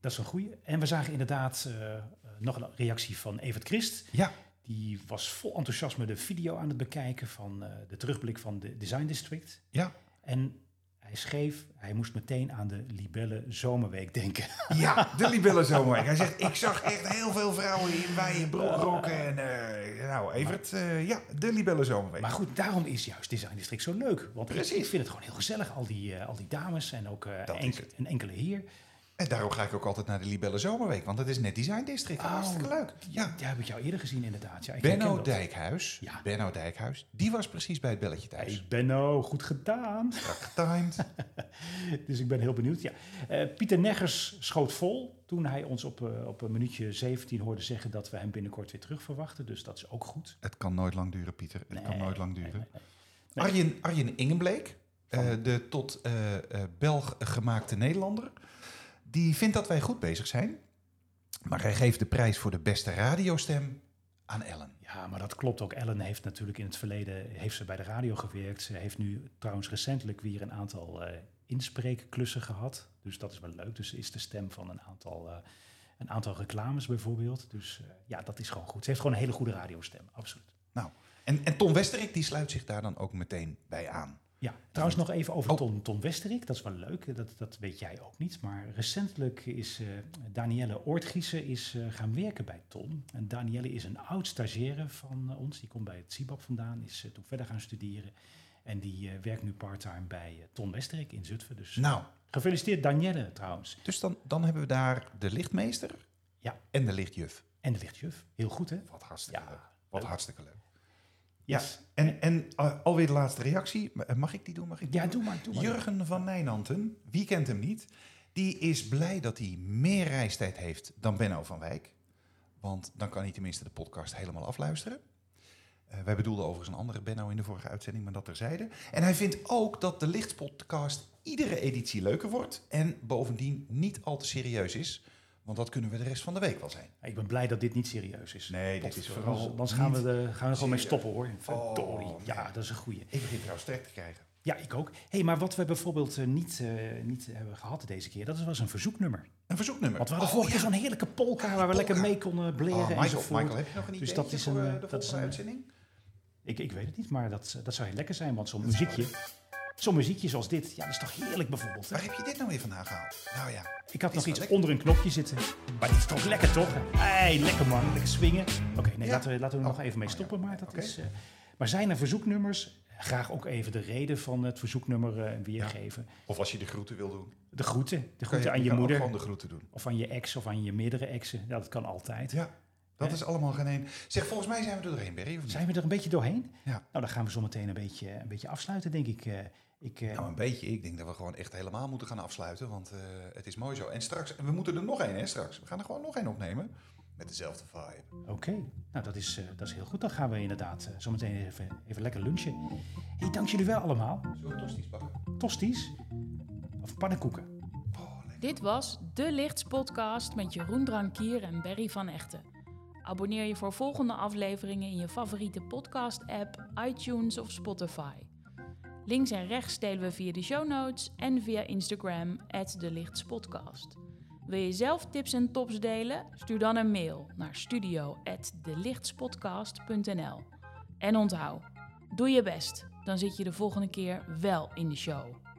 Dat is een goeie. En we zagen inderdaad eh, eh, nog een reactie van Evert Christ.
Ja,
Die was vol enthousiasme de video aan het bekijken van eh, de terugblik van de Design District.
Ja.
En hij schreef, hij moest meteen aan de Libelle Zomerweek denken. *laughs*
ja de libellen zomaar. Hij zegt, ik zag echt heel veel vrouwen in wijen broekrokken. En eh, nou, Evert, eh, ja, de libellen zomerweek.
Maar goed, daarom is juist Design District zo leuk. Want ik-
Precies.
ik vind het gewoon heel gezellig, al die, eh, al die dames en ook eh,
Dat is
enke-
het.
een enkele heer.
En daarom ga ik ook altijd naar de Libelle Zomerweek, want dat is net Design District.
Oh,
Hartstikke leuk. Ja.
Die heb ik jou eerder gezien inderdaad. Ja, ik herken
Benno
dat.
Dijkhuis,
Ja.
Benno Dijkhuis, die was precies bij het belletje thuis.
Hey Benno, oh, goed gedaan. *laughs*
Getimed.
Dus ik ben heel benieuwd. Ja. Eh, Pieter Neggers schoot vol toen hij ons op, eh, op een minuutje 17 hoorde zeggen dat we hem binnenkort weer terug verwachten. Dus dat is ook goed.
Het kan nooit lang duren, Pieter. Het kan
Nee,
nooit lang duren.
nee, nee.
Arjen, Arjen Ingenbleek, eh, de tot eh, eh, Belg gemaakte Nederlander, die vindt dat wij goed bezig zijn. Maar hij geeft de prijs voor de beste radiostem aan Ellen.
Ja, maar dat klopt ook. Ellen heeft natuurlijk in het verleden heeft ze bij de radio gewerkt. Ze heeft nu trouwens recentelijk weer een aantal eh, inspreekklussen gehad. Dus dat is wel leuk. Dus ze is de stem van een aantal, eh, een aantal reclames bijvoorbeeld. Dus eh, ja, dat is gewoon goed. Ze heeft gewoon een hele goede radiostem, absoluut.
Nou, En, en Tom Westerik die sluit zich daar dan ook meteen bij aan.
Ja, trouwens nog even over
Oh.
Ton, Ton Westerik. Dat is wel leuk, dat, dat weet jij ook niet. Maar recentelijk is eh Danielle Oortgiesen is, eh, gaan werken bij Ton. En Danielle is een oud stagiaire van eh, ons. Die komt bij het CIBAP vandaan, is eh, toen verder gaan studeren. En die eh, werkt nu parttime bij eh, Ton Westerik in Zutphen. Dus
Nou,
gefeliciteerd Danielle trouwens.
Dus dan, dan hebben we daar de lichtmeester
Ja.
en de lichtjuf.
En de lichtjuf. Heel goed hè?
Wat hartstikke leuk.
Ja.
Wat
leuk.
hartstikke leuk. Ja,
Yes.
en, en eh, alweer de laatste reactie. Ma- eh, Mag ik die doen? Mag ik die
Ja,
doen?
doe maar, doe maar.
Jurgen van Nijnanten, wie kent hem niet, die is blij dat hij meer reistijd heeft dan Benno van Wijk. Want dan kan hij tenminste de podcast helemaal afluisteren. Eh, wij bedoelden overigens een andere Benno in de vorige uitzending, maar dat terzijde. En hij vindt ook dat de Lichtspodcast iedere editie leuker wordt en bovendien niet al te serieus is. Want dat kunnen we de rest van de week wel zijn.
Ik ben blij dat dit niet serieus is.
Nee, dit is
Potverdorie.
vooral
Anders gaan we,
niet
de, gaan we gewoon mee
serieus.
stoppen hoor. Verdorie.
Oh,
ja,
nee.
dat is een goeie.
Ik begin trouwens trek te krijgen.
Ja, ik ook. hey, maar wat we bijvoorbeeld eh, niet, eh, niet hebben gehad deze keer, dat was een verzoeknummer.
Een verzoeknummer.
Want we hadden
Oh,
vorige
ja.
keer zo'n heerlijke polka waar we
Polka.
lekker mee konden bleren.
Oh, Michael,
enzovoort.
Michael, heb je nog een idee
Dus dat is
voor
een,
eh,
eh,
de
dat is
volgende
een-
uitzending?
eh, Ik, ik weet het niet, maar dat, dat zou heel lekker zijn, want zo'n muziekje. Zo'n muziekje zoals dit, ja, dat is toch heerlijk bijvoorbeeld. hè?
Waar heb je dit nou weer vandaan gehaald? Nou ja,
Ik had
Is wel
nog iets
lekker.
onder een knopje zitten. Maar dit is toch lekker, toch? Hey, lekker man, lekker swingen. Oké, nee,
Ja.
laten we, laten we er
Oh,
nog even mee
oh ja.
stoppen. Maar, dat
Oké.
is, eh, maar zijn er verzoeknummers? Graag ook even de reden van het verzoeknummer eh, weergeven.
of als je de groeten wil doen. kan
De groeten. De groeten
je,
aan je,
kan ook
moeder.
gewoon de groeten doen.
Of aan je ex of aan je meerdere exen. Ja, dat kan altijd.
Ja, dat
Ja.
is allemaal geen een. Zeg, volgens mij zijn we er doorheen, Berry, of niet?
Zijn we er een beetje doorheen?
Ja.
Nou, dan gaan we zo meteen een beetje, een beetje afsluiten, denk ik. Eh, ik eh,
Nou, een beetje. Ik denk dat we gewoon echt helemaal moeten gaan afsluiten, want eh, het is mooi zo. En straks, en we moeten er nog één, hè, straks. We gaan er gewoon nog één opnemen. Met dezelfde vibe.
Oké, nou dat is, eh, dat is heel goed. Dan gaan we inderdaad eh, zo meteen even, even lekker lunchen. hey, dank jullie wel allemaal.
Zullen we tosti's bakken?
Tosties of pannenkoeken.
Oh, lekker.
Dit was De Lichts Podcast met Jeroen Drankier en Berry van Echten. Abonneer je voor volgende afleveringen in je favoriete podcast-app, iTunes of Spotify. Links en rechts delen we via de show notes en via Instagram, De Lichts Podcast. Wil je zelf tips en tops delen? Stuur dan een mail naar studio.delichtspodcast.nl. En onthoud, doe je best, dan zit je de volgende keer wel in de show.